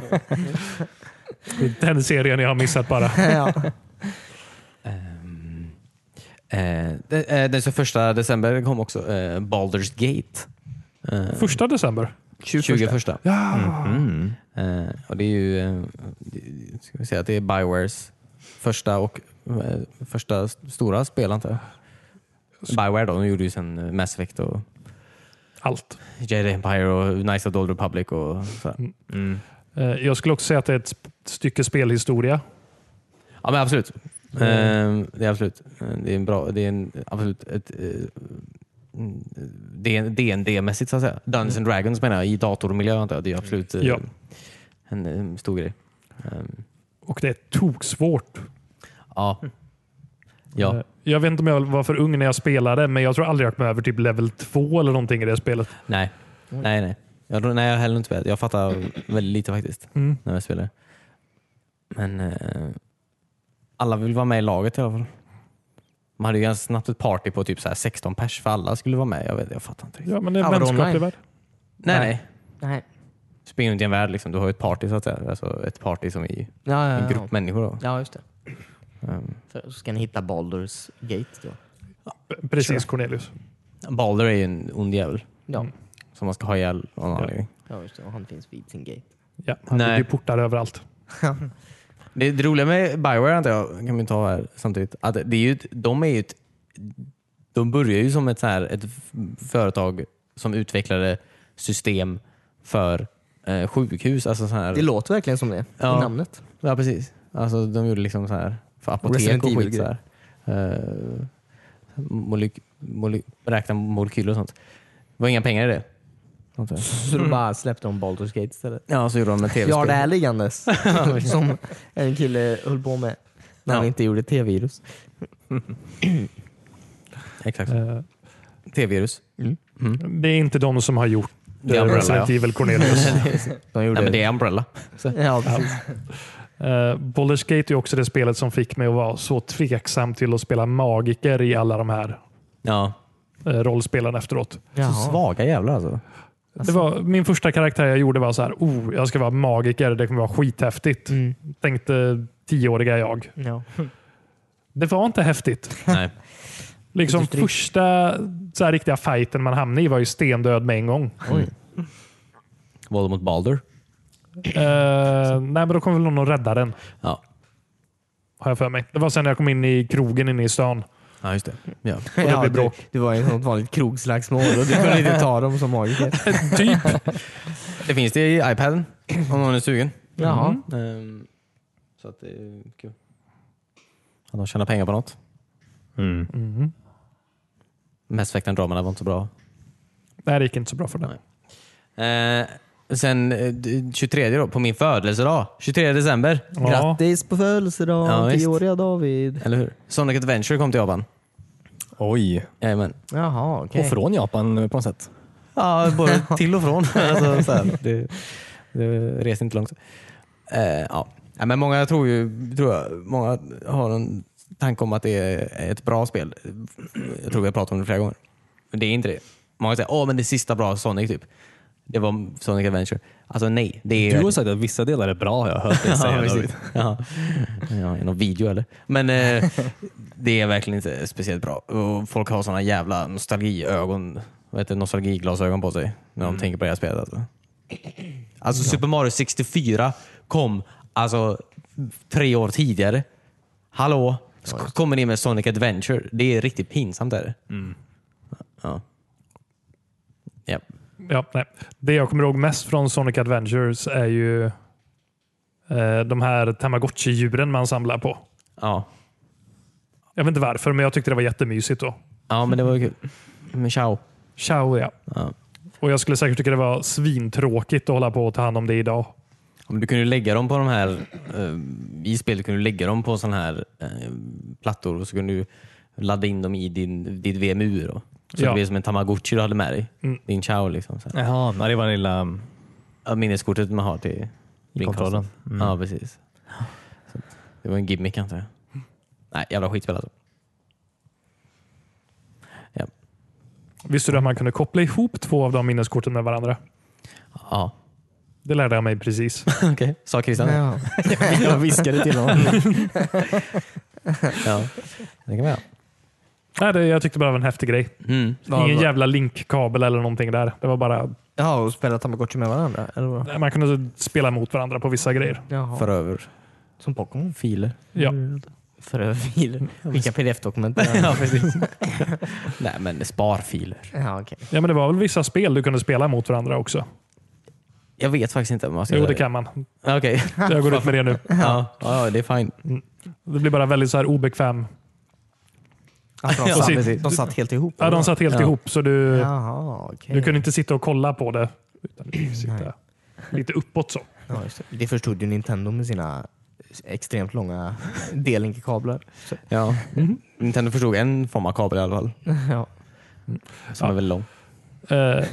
Den serien jag har missat bara.
ja.
Ehm, eh, det- eh, Den 21 december kom också eh, Baldur's Gate. Eh,
Första december.
21.
Ja.
Mm.
Mm.
Eh, Och det är ju eh, det- ska vi säga att det är Biowares första och eh, första s- stora spel antar jag. Bioware då, de gjorde ju sen eh, Mass Effect och
Allt.
Jedi Empire och Knights of the Old Republic och sådär.
Mm.
Eh, Jag skulle också säga att det är ett sp- stycke spelhistoria.
Ja men absolut. Eh, Det är absolut. Eh, Det är en bra, det är en, absolut ett eh, mm, det är en- DND-mässigt så att säga. Dungeons and Dragons menar jag, i datormiljö antar jag. Det är absolut eh,
Ja.
en, eh, stor grej. Ehm,
Och det är toksvårt.
Ja. Ja.
Eh, Jag vet inte om jag var för ung när jag spelade, men jag tror aldrig jag kom över typ level 2 eller någonting i det spelet.
Nej. Nej, nej. Jag, tror- nej, jag har heller inte spelat. Jag fattar väldigt lite faktiskt
Mm.
när jag spelar. Men eh, alla vill vara med i laget i alla fall. Man hade ju ganska snabbt ett party på typ så här 16 pers för alla skulle vara med. Jag, vet, jag fattar inte riktigt.
Ja, men det är
Ja, vadå
mänskaplig
online?
värld.
Nej,
Nej.
nej.
Nej.
Du springer runt i en värld. Liksom. Du har ju ett party så att säga. Alltså ett party som i
Ja, ja,
en
ja.
grupp människor. Då.
Ja, just det.
Ehm,
För så ska ni hitta Baldur's Gate då.
Precis Cornelius.
Balder är ju en ond jävel
Ja,
Mm.
som man ska ha ihjäl av någon anledning.
ja just det. Och han finns vid sin gate.
Ja, han
Nej.
bygger ju portar överallt.
Det, det roliga med Bioware antar jag, kan vi ta här samtidigt, att det är ju, ett- de är ju ett, de börjar ju som ett, så här, ett f- företag som utvecklade system för eh, sjukhus. Alltså så
Det
här,
låter verkligen som det
Ja.
i namnet.
ja, precis. Alltså, de gjorde liksom så här för apotek
Resident
och skit. Så
Evil-grej.
här. Eh, molyk, moly, räkna molekyler och sånt. Det var inga pengar i det. antar jag.
Så då bara släppte de Baldur's Gate istället.
Ja, så gjorde de en tv-spel.
Jag har det här liggandes. som en kille höll på med när han
Ja.
inte gjorde T-virus.
Exakt.
Eh,
T-virus.
Det är inte de som har gjort
är
eh,
Umbrella,
Resident Evil Cornelius.
De gjorde
Nej, men det är Umbrella.
Ja, precis.
Uh, Baldur's Gate är också det spelet som fick mig att vara så tveksam till att spela magiker i alla de här
Ja.
eh, rollspelen efteråt.
Jaha.
Så svaga jävlar alltså.
Det var, min första karaktär jag gjorde var så här, oh, jag ska vara magiker, det kommer vara skithäftigt.
Mm.
Tänkte tioåriga jag.
Ja.
Det var inte häftigt.
Nej.
Liksom
Industri.
första så här, riktiga fighten man hamnade i var ju stendöd med en gång.
Våld mot Balder.
Eh, nej, men då kom väl någon och räddade den,
Ja.
har jag för mig. Det var sen när jag kom in i krogen inne i stan.
ja, just det. Ja.
det
Ja,
blir
du,
bråk.
du var ju ett sånt vanligt krogslagsmål och du kunde inte ta dem som magiker.
Typ.
Det finns det i iPaden om någon är sugen.
Jaha.
Ehm, så att det är kul. Ja, de tjänar pengar på något.
Mm.
Mass Effect-dramarna var inte så bra.
Nej, det gick inte så bra för den.
Eh, sen eh, d- 23 då, på min födelsedag. 23 december.
Ja.
Grattis på
Ja,
födelsedagen,
visst.
tioåriga David.
Eller hur? Sonic Adventure kom till Japan.
Oj.
Jajamän.
Jaha, okej.
Och från Japan eh, på något sätt.
Ja, både till och från. alltså, så här, det, det reser inte långt. Eh, ja. Ja, men många tror ju, tror jag, många har en tanke om att det är ett bra spel. Jag tror vi har pratat om det flera gånger. Men det är inte det. Många säger åh men det sista bra Sonic typ. Det var Sonic Adventure. Alltså nej. Det är
Du har sagt att vissa delar är bra har jag hört dig säga.
ja,
David.
precis. Ja. Ja, i någon video eller? Men eh, det är verkligen inte speciellt bra. Och folk har sådana jävla nostalgiögon, vad heter det, nostalgiglasögon på sig när de tänker på det här spelet. Alltså, alltså Super Mario 64 kom alltså tre år tidigare. Hallå? Så kommer ni med Sonic Adventure? Det är riktigt pinsamt. Är det? Ja. Ja.
Ja, nej. Det jag kommer ihåg mest från Sonic Adventures är ju eh, de här Tamagotchi-djuren man samlar på.
Ja.
Jag vet inte varför, men jag tyckte det var jättemysigt då.
ja, men det var ju kul. Men ciao.
Ciao, ja.
Ja.
Och jag skulle säkert tycka det var svintråkigt att hålla på och ta hand om det idag.
Ja, men du kunde ju lägga dem på de här, eh, i spelet kunde du lägga dem på sådana här eh, plattor och så kunde du ladda in dem i din, ditt VMU. Då. Så
Ja.
det blev som en tamagotchi du hade med dig.
Mm.
Din chow liksom. Så här.
Jaha, ja, det var den lilla... mm,
Ja, Minneskortet man har till Dreamcasten.
kontrollen. Mm.
Ja, precis. Så, att det var en gimmick antar jag. Nej, jävla skitspel alltså.
Visste du att man kunde koppla ihop två av de minneskorten med varandra?
Ja,
Det lärde jag mig precis.
okej. Sa Christian det?
Ja.
Jag viskade till honom.
Ja. Det kan man göra.
nej, det, jag tyckte bara det var en häftig grej.
Mm.
Ingen jävla linkkabel eller någonting där. Det var bara
Jaha, och spela Tamagotchi med varandra? Eller vad?
Man kunde spela mot varandra på vissa grejer.
Jaha.
För över
Som Pokémon?
filer.
Ja.
Förfiler. Skicka pdf-dokument.
ja, precis. Nej, men sparfiler.
ja, okej.
Ja, men det var väl vissa spel du kunde spela mot varandra också?
Jag vet faktiskt inte om man ska
Jo,
göra
det kan man.
Okej.
Jag går ut med det nu.
ja. ja, det är fine.
Det blir bara väldigt så här obekväm.
Alltså, de,
Ja,
satt,
precis.
de satt helt ihop?
Ja, de satt helt
Ja.
ihop, så du,
Jaha, okej.
du kunde inte sitta och kolla på det. Utan du fick sitta lite uppåt så.
Ja, just det. det förstod ju Nintendo med sina extremt långa D-Link-kablar. Så-
Ja. Nintendo förstod en form av kabel i alla fall.
Ja.
Som
Ja.
är väldigt lång.
Eh,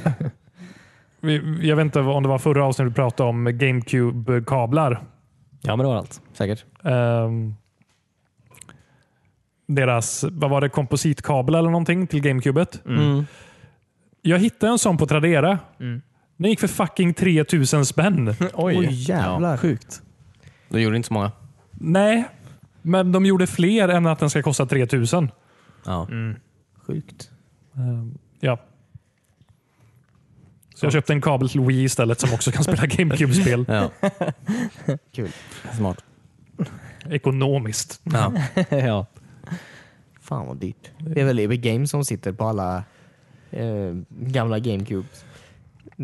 vi- jag vet inte om det var förra avsnittet vi pratade om GameCube-kablar.
Ja, men det var allt.
Säkert.
Ehm, deras, vad var det, kompositkabel eller någonting till GameCubet. Jag hittade en sån på Tradera. Den gick för fucking 3000 spänn.
Oj, jävlar.
sjukt. De gjorde inte så många.
Nej, men de gjorde fler än att den ska kosta 3000.
Ja.
Sjukt.
Ehm, ja. Så jag köpte en kabel till Wii istället som också kan spela GameCube-spel.
ja.
Kul.
Smart.
Ekonomiskt.
Ja.
ja.
Fan vad dyrt. Det är väl EB Games som sitter på alla eh, gamla GameCubes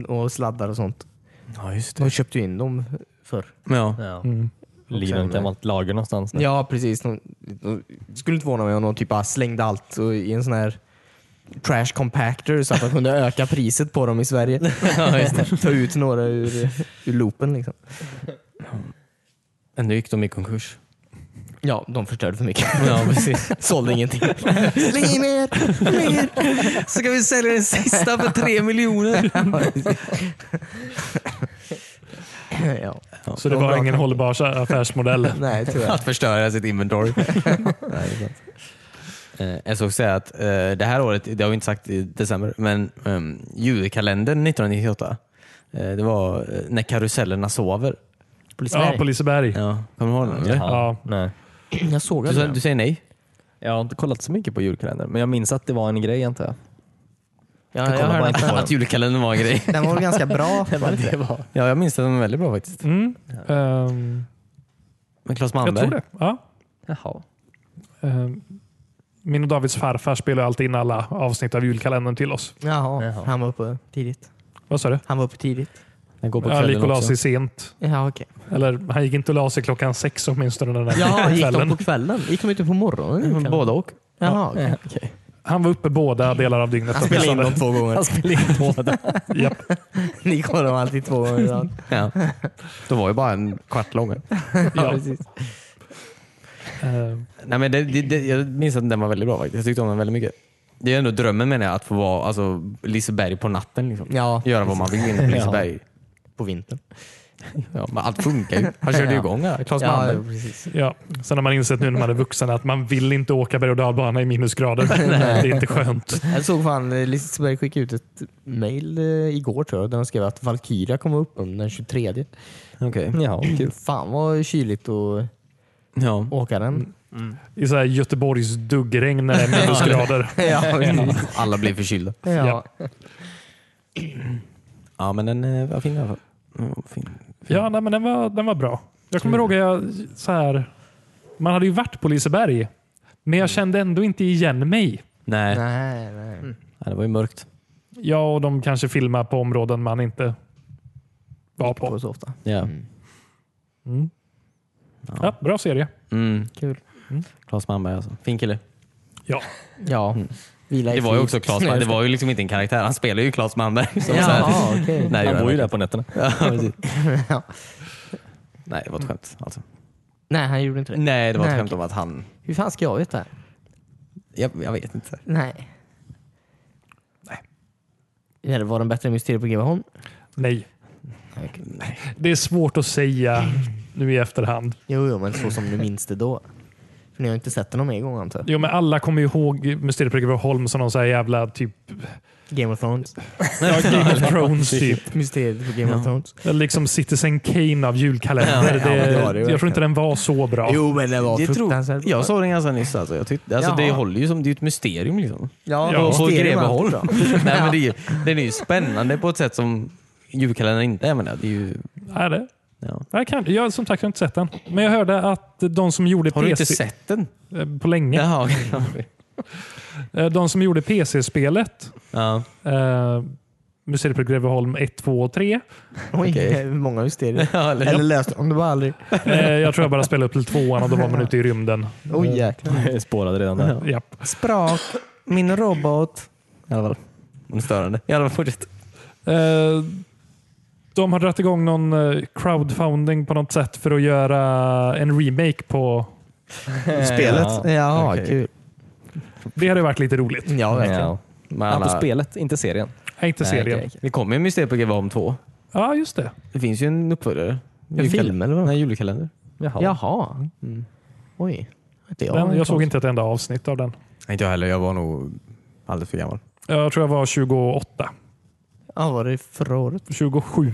och sladdar och sånt.
ja, just
De köpte ju in dem förr.
Ja.
ja.
Mm.
Lider ett gammalt lager någonstans. nu.
Ja, precis. De, de skulle inte förvåna mig om de typ bara slängde allt och i en sån här trash compactor så att de kunde öka priset på dem i Sverige. Ta ut några ur, ur loopen. Liksom.
Ändå gick de i konkurs.
Ja, de förstörde för mycket.
Ja, precis.
Sålde ingenting. Släng in mer! Släng in!
Så kan vi sälja den sista för tre miljoner.
ja.
Så det var ingen hållbar så- affärsmodell.
Nej, tyvärr.
Att förstöra sitt inventory. Eh, Jag såg säga att eh, det här året, det har vi inte sagt i december, men um, julkalendern 1998, eh, det var eh, när karusellerna sover.
Ja, på Liseberg.
Ja. Kommer du ihåg den? eller?
Ja.
Nej.
Jag såg
Du, sa- du
det.
säger nej?
Jag har inte kollat så mycket på julkalendern, men jag minns att det var en grej antar jag.
Ja, jag
kollar bara
hörde
inte
att
på
den,
den.
Att julkalendern var en grej.
den var väl ganska bra. var det inte?
var.
Ja, jag minns den väldigt bra faktiskt.
Mm. Ehm,
Med Claes
jag
Malmberg.
tror det. Ja.
Jaha.
Ehm, Min och Davids farfar spelar alltid in alla avsnitt av julkalendern till oss.
Jaha,
Jaha.
han var uppe tidigt.
Vad sa du?
Han var uppe tidigt.
Den går på
Ja, gick och
kvällen
la
också.
sig sent.
Ja, okej.
Eller han gick inte och la sig klockan sex åtminstone den där
Jaha, gick
kvällen.
de på kvällen? Gick de inte på morgonen?
Både och.
Jaha, okej.
Han var uppe båda delar av dygnet.
Han spelade in dem två gånger.
Han spelade in båda.
Japp.
Ni kollar dem alltid två gånger i rad.
Ja. Det var ju bara en kvart lång.
Ja.
precis.
Ehm,
Nej, men det, det, det, jag minns att den var väldigt bra faktiskt. Jag tyckte om den väldigt mycket. Det är ändå drömmen menar jag, att få vara alltså, Liseberg på natten. Liksom.
Ja,
Göra vad man vill inne på Liseberg.
på vintern.
Ja, men allt funkar ju. Han körde ju igång här. Claes
Ja,
Malmberg.
precis.
ja. Sen har man insett nu när man är vuxen att man vill inte åka berg och dalbana i minusgrader. Det är inte skönt.
Jag såg fan eh, Liseberg skicka ut ett mejl eh, igår tror jag, där de skrev att Valkyria kommer upp um, den 23.
Okej.
Ja, kul.
Fan vad kyligt att
Ja.
åka
Mm.
den.
I så här Göteborgs duggregn när det är minusgrader.
Ja, precis.
Alla blev förkylda.
ja.
Ja, men den eh, var fin i alla fall. Mm, Fin.
Ja, nej, men den var, den var bra. Jag kommer ihåg att jag, så här, man hade ju varit på Liseberg, men jag kände ändå inte igen mig.
Nej, Nej.
Nej, nej.
det var ju mörkt.
Jag och de kanske filmar på områden man inte var på.
På så ofta.
Ja.
Mm. Ja, bra serie.
Mm.
Kul.
Claes Malmberg alltså. Fin kille.
Ja.
Ja. Vila i
Mm. Det var ju
frid.
också Claes Malmberg. Det var ju liksom inte en karaktär. Han spelar ju Claes Malmberg. Så så här.
Jaha, okej.
Nej,
Han
gör
bor ju
inte.
där på nätterna.
Ja, precis.
Ja.
Nej, det var ett skämt. Alltså.
Nej, han gjorde inte det.
Nej, det var ett
Nej,
skämt om att han...
Hur fan ska jag veta? det här?
Jag, jag vet inte.
Nej. Nej. Eller var den bättre än Mysteriet på Greveholm?
Nej.
Okej.
Det är svårt att säga nu i efterhand.
Jo, jo, men så som du minns det då. För ni har ju inte sett den någon mer gång antar jag?
Jo, men alla kommer ju ihåg Mysteriet på Greveholm som någon så här jävla typ...
Game of Thrones.
Ja, Game of Thrones typ.
Mysteriet på Game of Thrones.
Eller Liksom Citizen Kane av julkalender.
Ja, ja, det var det
det,
ju.
jag tror inte den var så bra.
Jo, men det var
Det tror,
fruktansvärt bra.
jag såg den ganska nyss. Alltså. Jag tyckte, alltså, det
Jaha.
håller ju som det är ett mysterium. Liksom.
Ja,
Ja,
och
På
Stereman.
Greveholm. Nej, men det är, ju- den är ju spännande på ett sätt som julkalendern inte är. Men det är ju,
Är det?
Ja.
Jag, kan, jag har som sagt inte sett den. Men jag hörde att de som gjorde
Har du inte
PC
sett den?
på länge,
Jaha, okej.
eh, de som gjorde PC-spelet,
ja.
eh, Museet på Greveholm 1, 2 och 3.
Oj,
Okej.
det är många mysterier.
Ja, eller-
Eller löst om det var aldrig.
Eh, jag tror jag bara spelade upp till tvåan och då var man ute i rymden.
Oj jäklar.
Jag spårade redan där.
Japp.
Sprak, min robot. I alla fall. Det är Störande. I alla fall fortsätt.
Eh, de har dragit igång någon eh, crowdfunding på något sätt för att göra en remake på...
Spelet?
Ja.
Jaha,
Okej.
kul.
Det hade varit lite roligt.
Ja, verkligen.
Ja.
Men
Ja, på
alla-
spelet, inte serien.
Jag inte
Nej,
serien.
okej, okej.
Det kommer ju Mysteriet på Greveholm 2.
Ja, just det.
Det finns ju en uppföljare.
En film eller vad?
Nej, julkalender.
Jaha.
Jaha. Mm. Oj. Det var
Den,
en
jag såg
konst-
inte ett enda avsnitt av den.
Nej, inte jag heller. Jag var nog alldeles för gammal.
Jag tror jag var 28.
Ja, var det förra året?
27.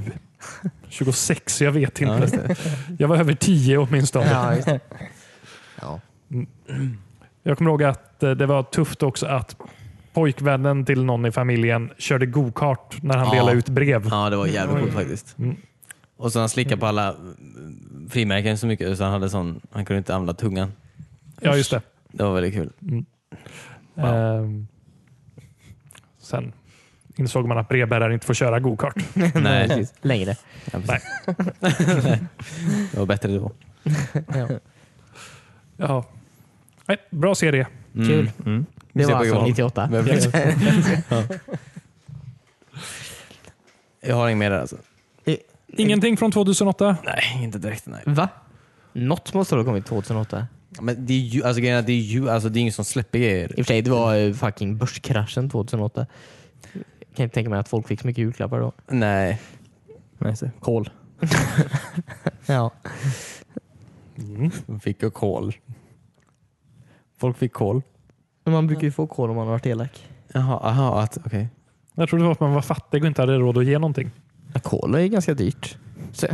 26, jag vet
Ja, just
inte. jag var över 10 åtminstone.
Ja, just det. Ja.
Jag kommer ihåg att eh, det var tufft också att pojkvännen till någon i familjen körde go-kart när han
Ja.
delade ut brev.
Ja, det var jävligt coolt faktiskt. Och så han slickade på alla mm, frimärken så mycket så han, hade sån, han kunde inte använda tungan.
Ja, just det.
Det var väldigt kul.
Ehm, sen insåg man att brevbärare inte får köra go-kart.
Nej, precis.
Längre.
Ja, precis. det var bättre då.
Ja.
Ja. Nej, bra serie.
Kul.
Mm.
Det
ser på
var alltså
Johan.
98.
Men- Ja. Jag har inget mer där alltså.
Ingenting från 2008.
Nej, inte direkt. Nej.
Va? Något måste ha kommit 2008.
Men det är ju, alltså, grejen är att det är ju, alltså det är ingen som släpper
I
grejer.
och för sig, det var eh, fucking börskraschen 2008. Jag kan inte tänka mig att folk fick så mycket julklappar då.
Nej.
Nej, så. Kol.
Ja.
De fick ju kol. Folk fick kol.
Men man brukar ju få kol om man har varit elak.
Jaha, aha, att, okej.
Jag trodde det var att man var fattig och inte hade råd att ge någonting.
Ja, kol är ganska dyrt. Så,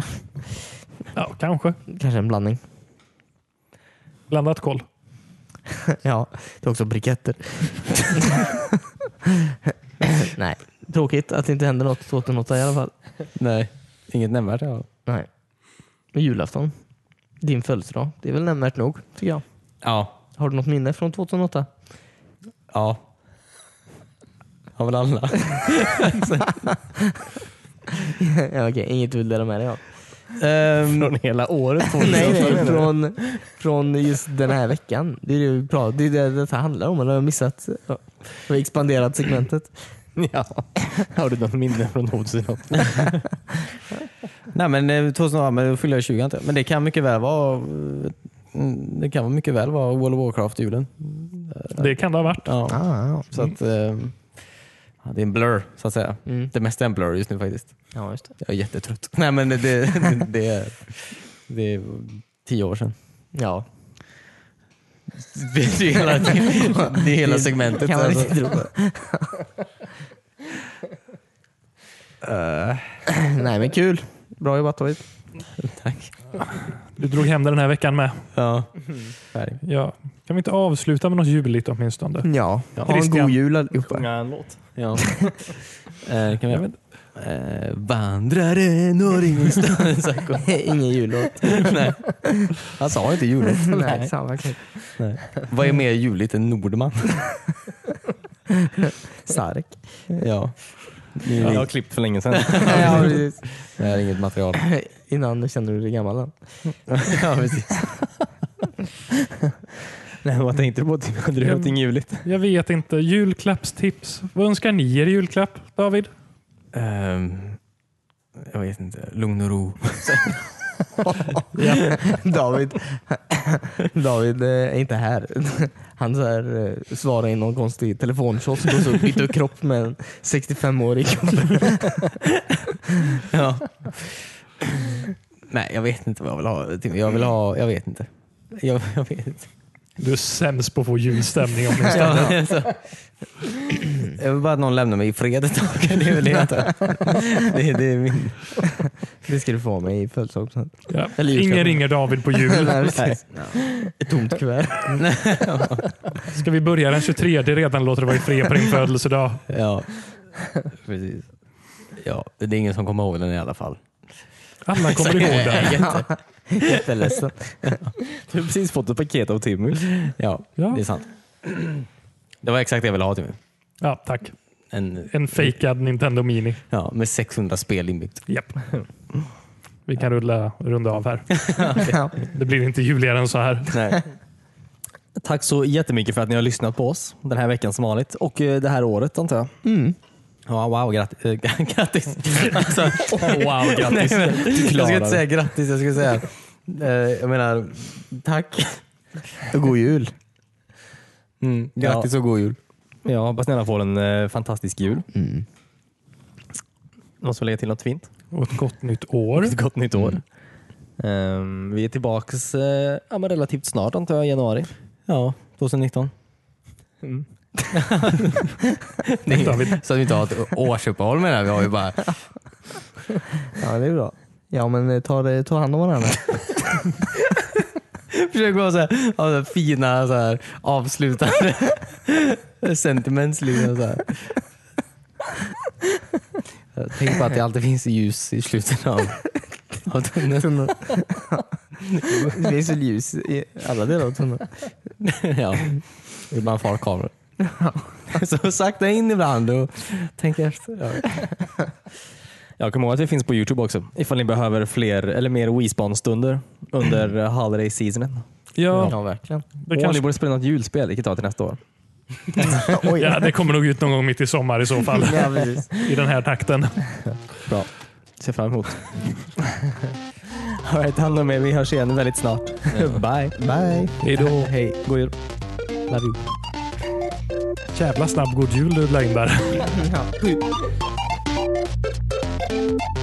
Ja, kanske.
kanske en blandning.
Blandat koll.
Ja, det är också briketter. Nej, tråkigt att det inte hände något 2008 i alla fall.
Nej, inget nämnvärt. Ja.
Nej. Men julafton, din födelsedag, det är väl nämnvärt nog tycker jag.
ja.
Har du något minne från 2008?
Ja. Har väl alla.
ja, Okej, inget du vill dela med dig av?
Ehm,
Från hela året.
nej, nej, från, från just den här veckan. Det är det, vi pratar- det, är det detta handlar om. Eller har jag missat? Ja. Vi har expanderat segmentet.
ja. Har du något minne från 2008?
Nej men eh, 2000, ja, men då fyller jag 20 inte. Men det kan mycket väl vara eh, mm, det kan mycket väl vara World of Warcraft i julen.
Det kan det ha varit.
Ja.
Ah,
Så att, eh, ja, det är en blur så att säga.
Mm.
Det mesta är en blur just nu faktiskt.
ja, just det.
Jag är jättetrött. Nej men det, det, det, är, det är tio år sedan.
Ja.
Det är ju hela, det är hela segmentet.
kan man
alltså.
inte tro på. Eh. Nej men kul. Bra jobbat David.
Tack.
Du drog hem det den här veckan med.
Ja. Färg.
Ja. Kan vi inte avsluta med något juligt åtminstone?
Ja. Ha en
Christian.
god jul allihopa.
en låt.
Ja. eh, kan vi göra? Eh, vandrare norr ingenstans.
Ingen jullåt.
Nej. Han sa inte juligt.
Nej, fan vad kul.
Vad är mer juligt än Nordman?
Sarek.
ja. Det
Jag
är,
har klippt för länge sedan.
ja, precis.
det här är inget material.
Innan kände du dig gammal. än.
ja, precis.
Nej, vad tänkte du på? Typ, Hade du någonting ljuvligt?
Jag vet inte. Julklappstips. Vad önskar ni er i julklapp, David?
Ehm, jag vet inte. Lugn och ro.
David, David eh, är inte här. Han så här, eh, svarar i någon konstig telefonkiosk och så byter kropp med en 65-årig gubbe.
ja. Nej, jag vet inte vad jag vill ha. Tim. Jag vill ha... Jag vet inte. Jag, jag vet inte.
Du är sämst på att få julstämning åtminstone.
Ja, alltså. Jag vill bara att någon lämnar mig i fred ett tag. Det är väl det jag tar. det, det är min...
Det ska du få av mig i födelsedagspresent.
Ja.
Eller julklapp.
Ingen ringer David på jul.
Nej, precis. Ett tomt kuvert.
Ska vi börja den 23 redan? Låter det vara i fred på din födelsedag.
Ja, precis. Ja, det är ingen som kommer ihåg den i alla fall.
Alla kommer ihåg det.
Jätte-
Jätteledsen.
Du har precis fått ett paket av Timmy.
Ja,
Ja.
det är sant. Det var exakt det jag ville ha till mig.
Ja, tack.
En,
En fejkad Nintendo Mini.
ja, med 600 spel inbyggt.
Japp. Vi kan rulla, runda av här.
Ja.
Det blir inte juligare än så här.
Nej.
Tack så jättemycket för att ni har lyssnat på oss den här veckan som vanligt och eh, det här året antar jag.
Wow, wow grat- eh, grattis. Alltså,
Oh, Wow, grattis.
Nej, men, jag
klarar
skulle
det.
inte säga grattis, jag skulle säga eh, jag menar tack och god jul. Mm, grattis och god jul.
Ja, hoppas ni alla får en eh, fantastisk jul. Någon som lägger till något fint?
Och ett gott nytt år.
Ett gott nytt år. Ehm, vi är tillbaks eh, ja, men relativt snart antar jag, i januari.
Ja, 2019.
Det tar vi.
Så att vi inte har ett årsuppehåll med det här. Vi har ju bara
ja, det är bra. Ja, men eh, ta, det- ta hand om varandra.
försökt vara så här, ha så här fina så här, avslutande sentiments. Liksom, så här. Tänk på att det alltid finns ljus i slutet av, av tunneln.
Det finns väl ljus i alla delar av tunneln.
ja. Ibland far kameror. så sakta in ibland och tänk efter. Ja.
Jag kommer ihåg att vi finns på Youtube också ifall ni behöver fler eller mer Wiesbawn-stunder under eh, holiday seasonen.
Ja,
verkligen.
det,
Och ni
kanske,
borde spela något julspel, vilket tar till nästa år.
Oj.
ja, det kommer nog ut någon gång mitt i sommar i så fall.
Ja, precis.
I den här takten.
Bra. Ser fram emot. All right, hand om er. Vi hörs igen väldigt snart. Bye.
Bye.
Hej då. Hej. God jul.
Love you.
Jävla snabb god jul du la in där.
Ja.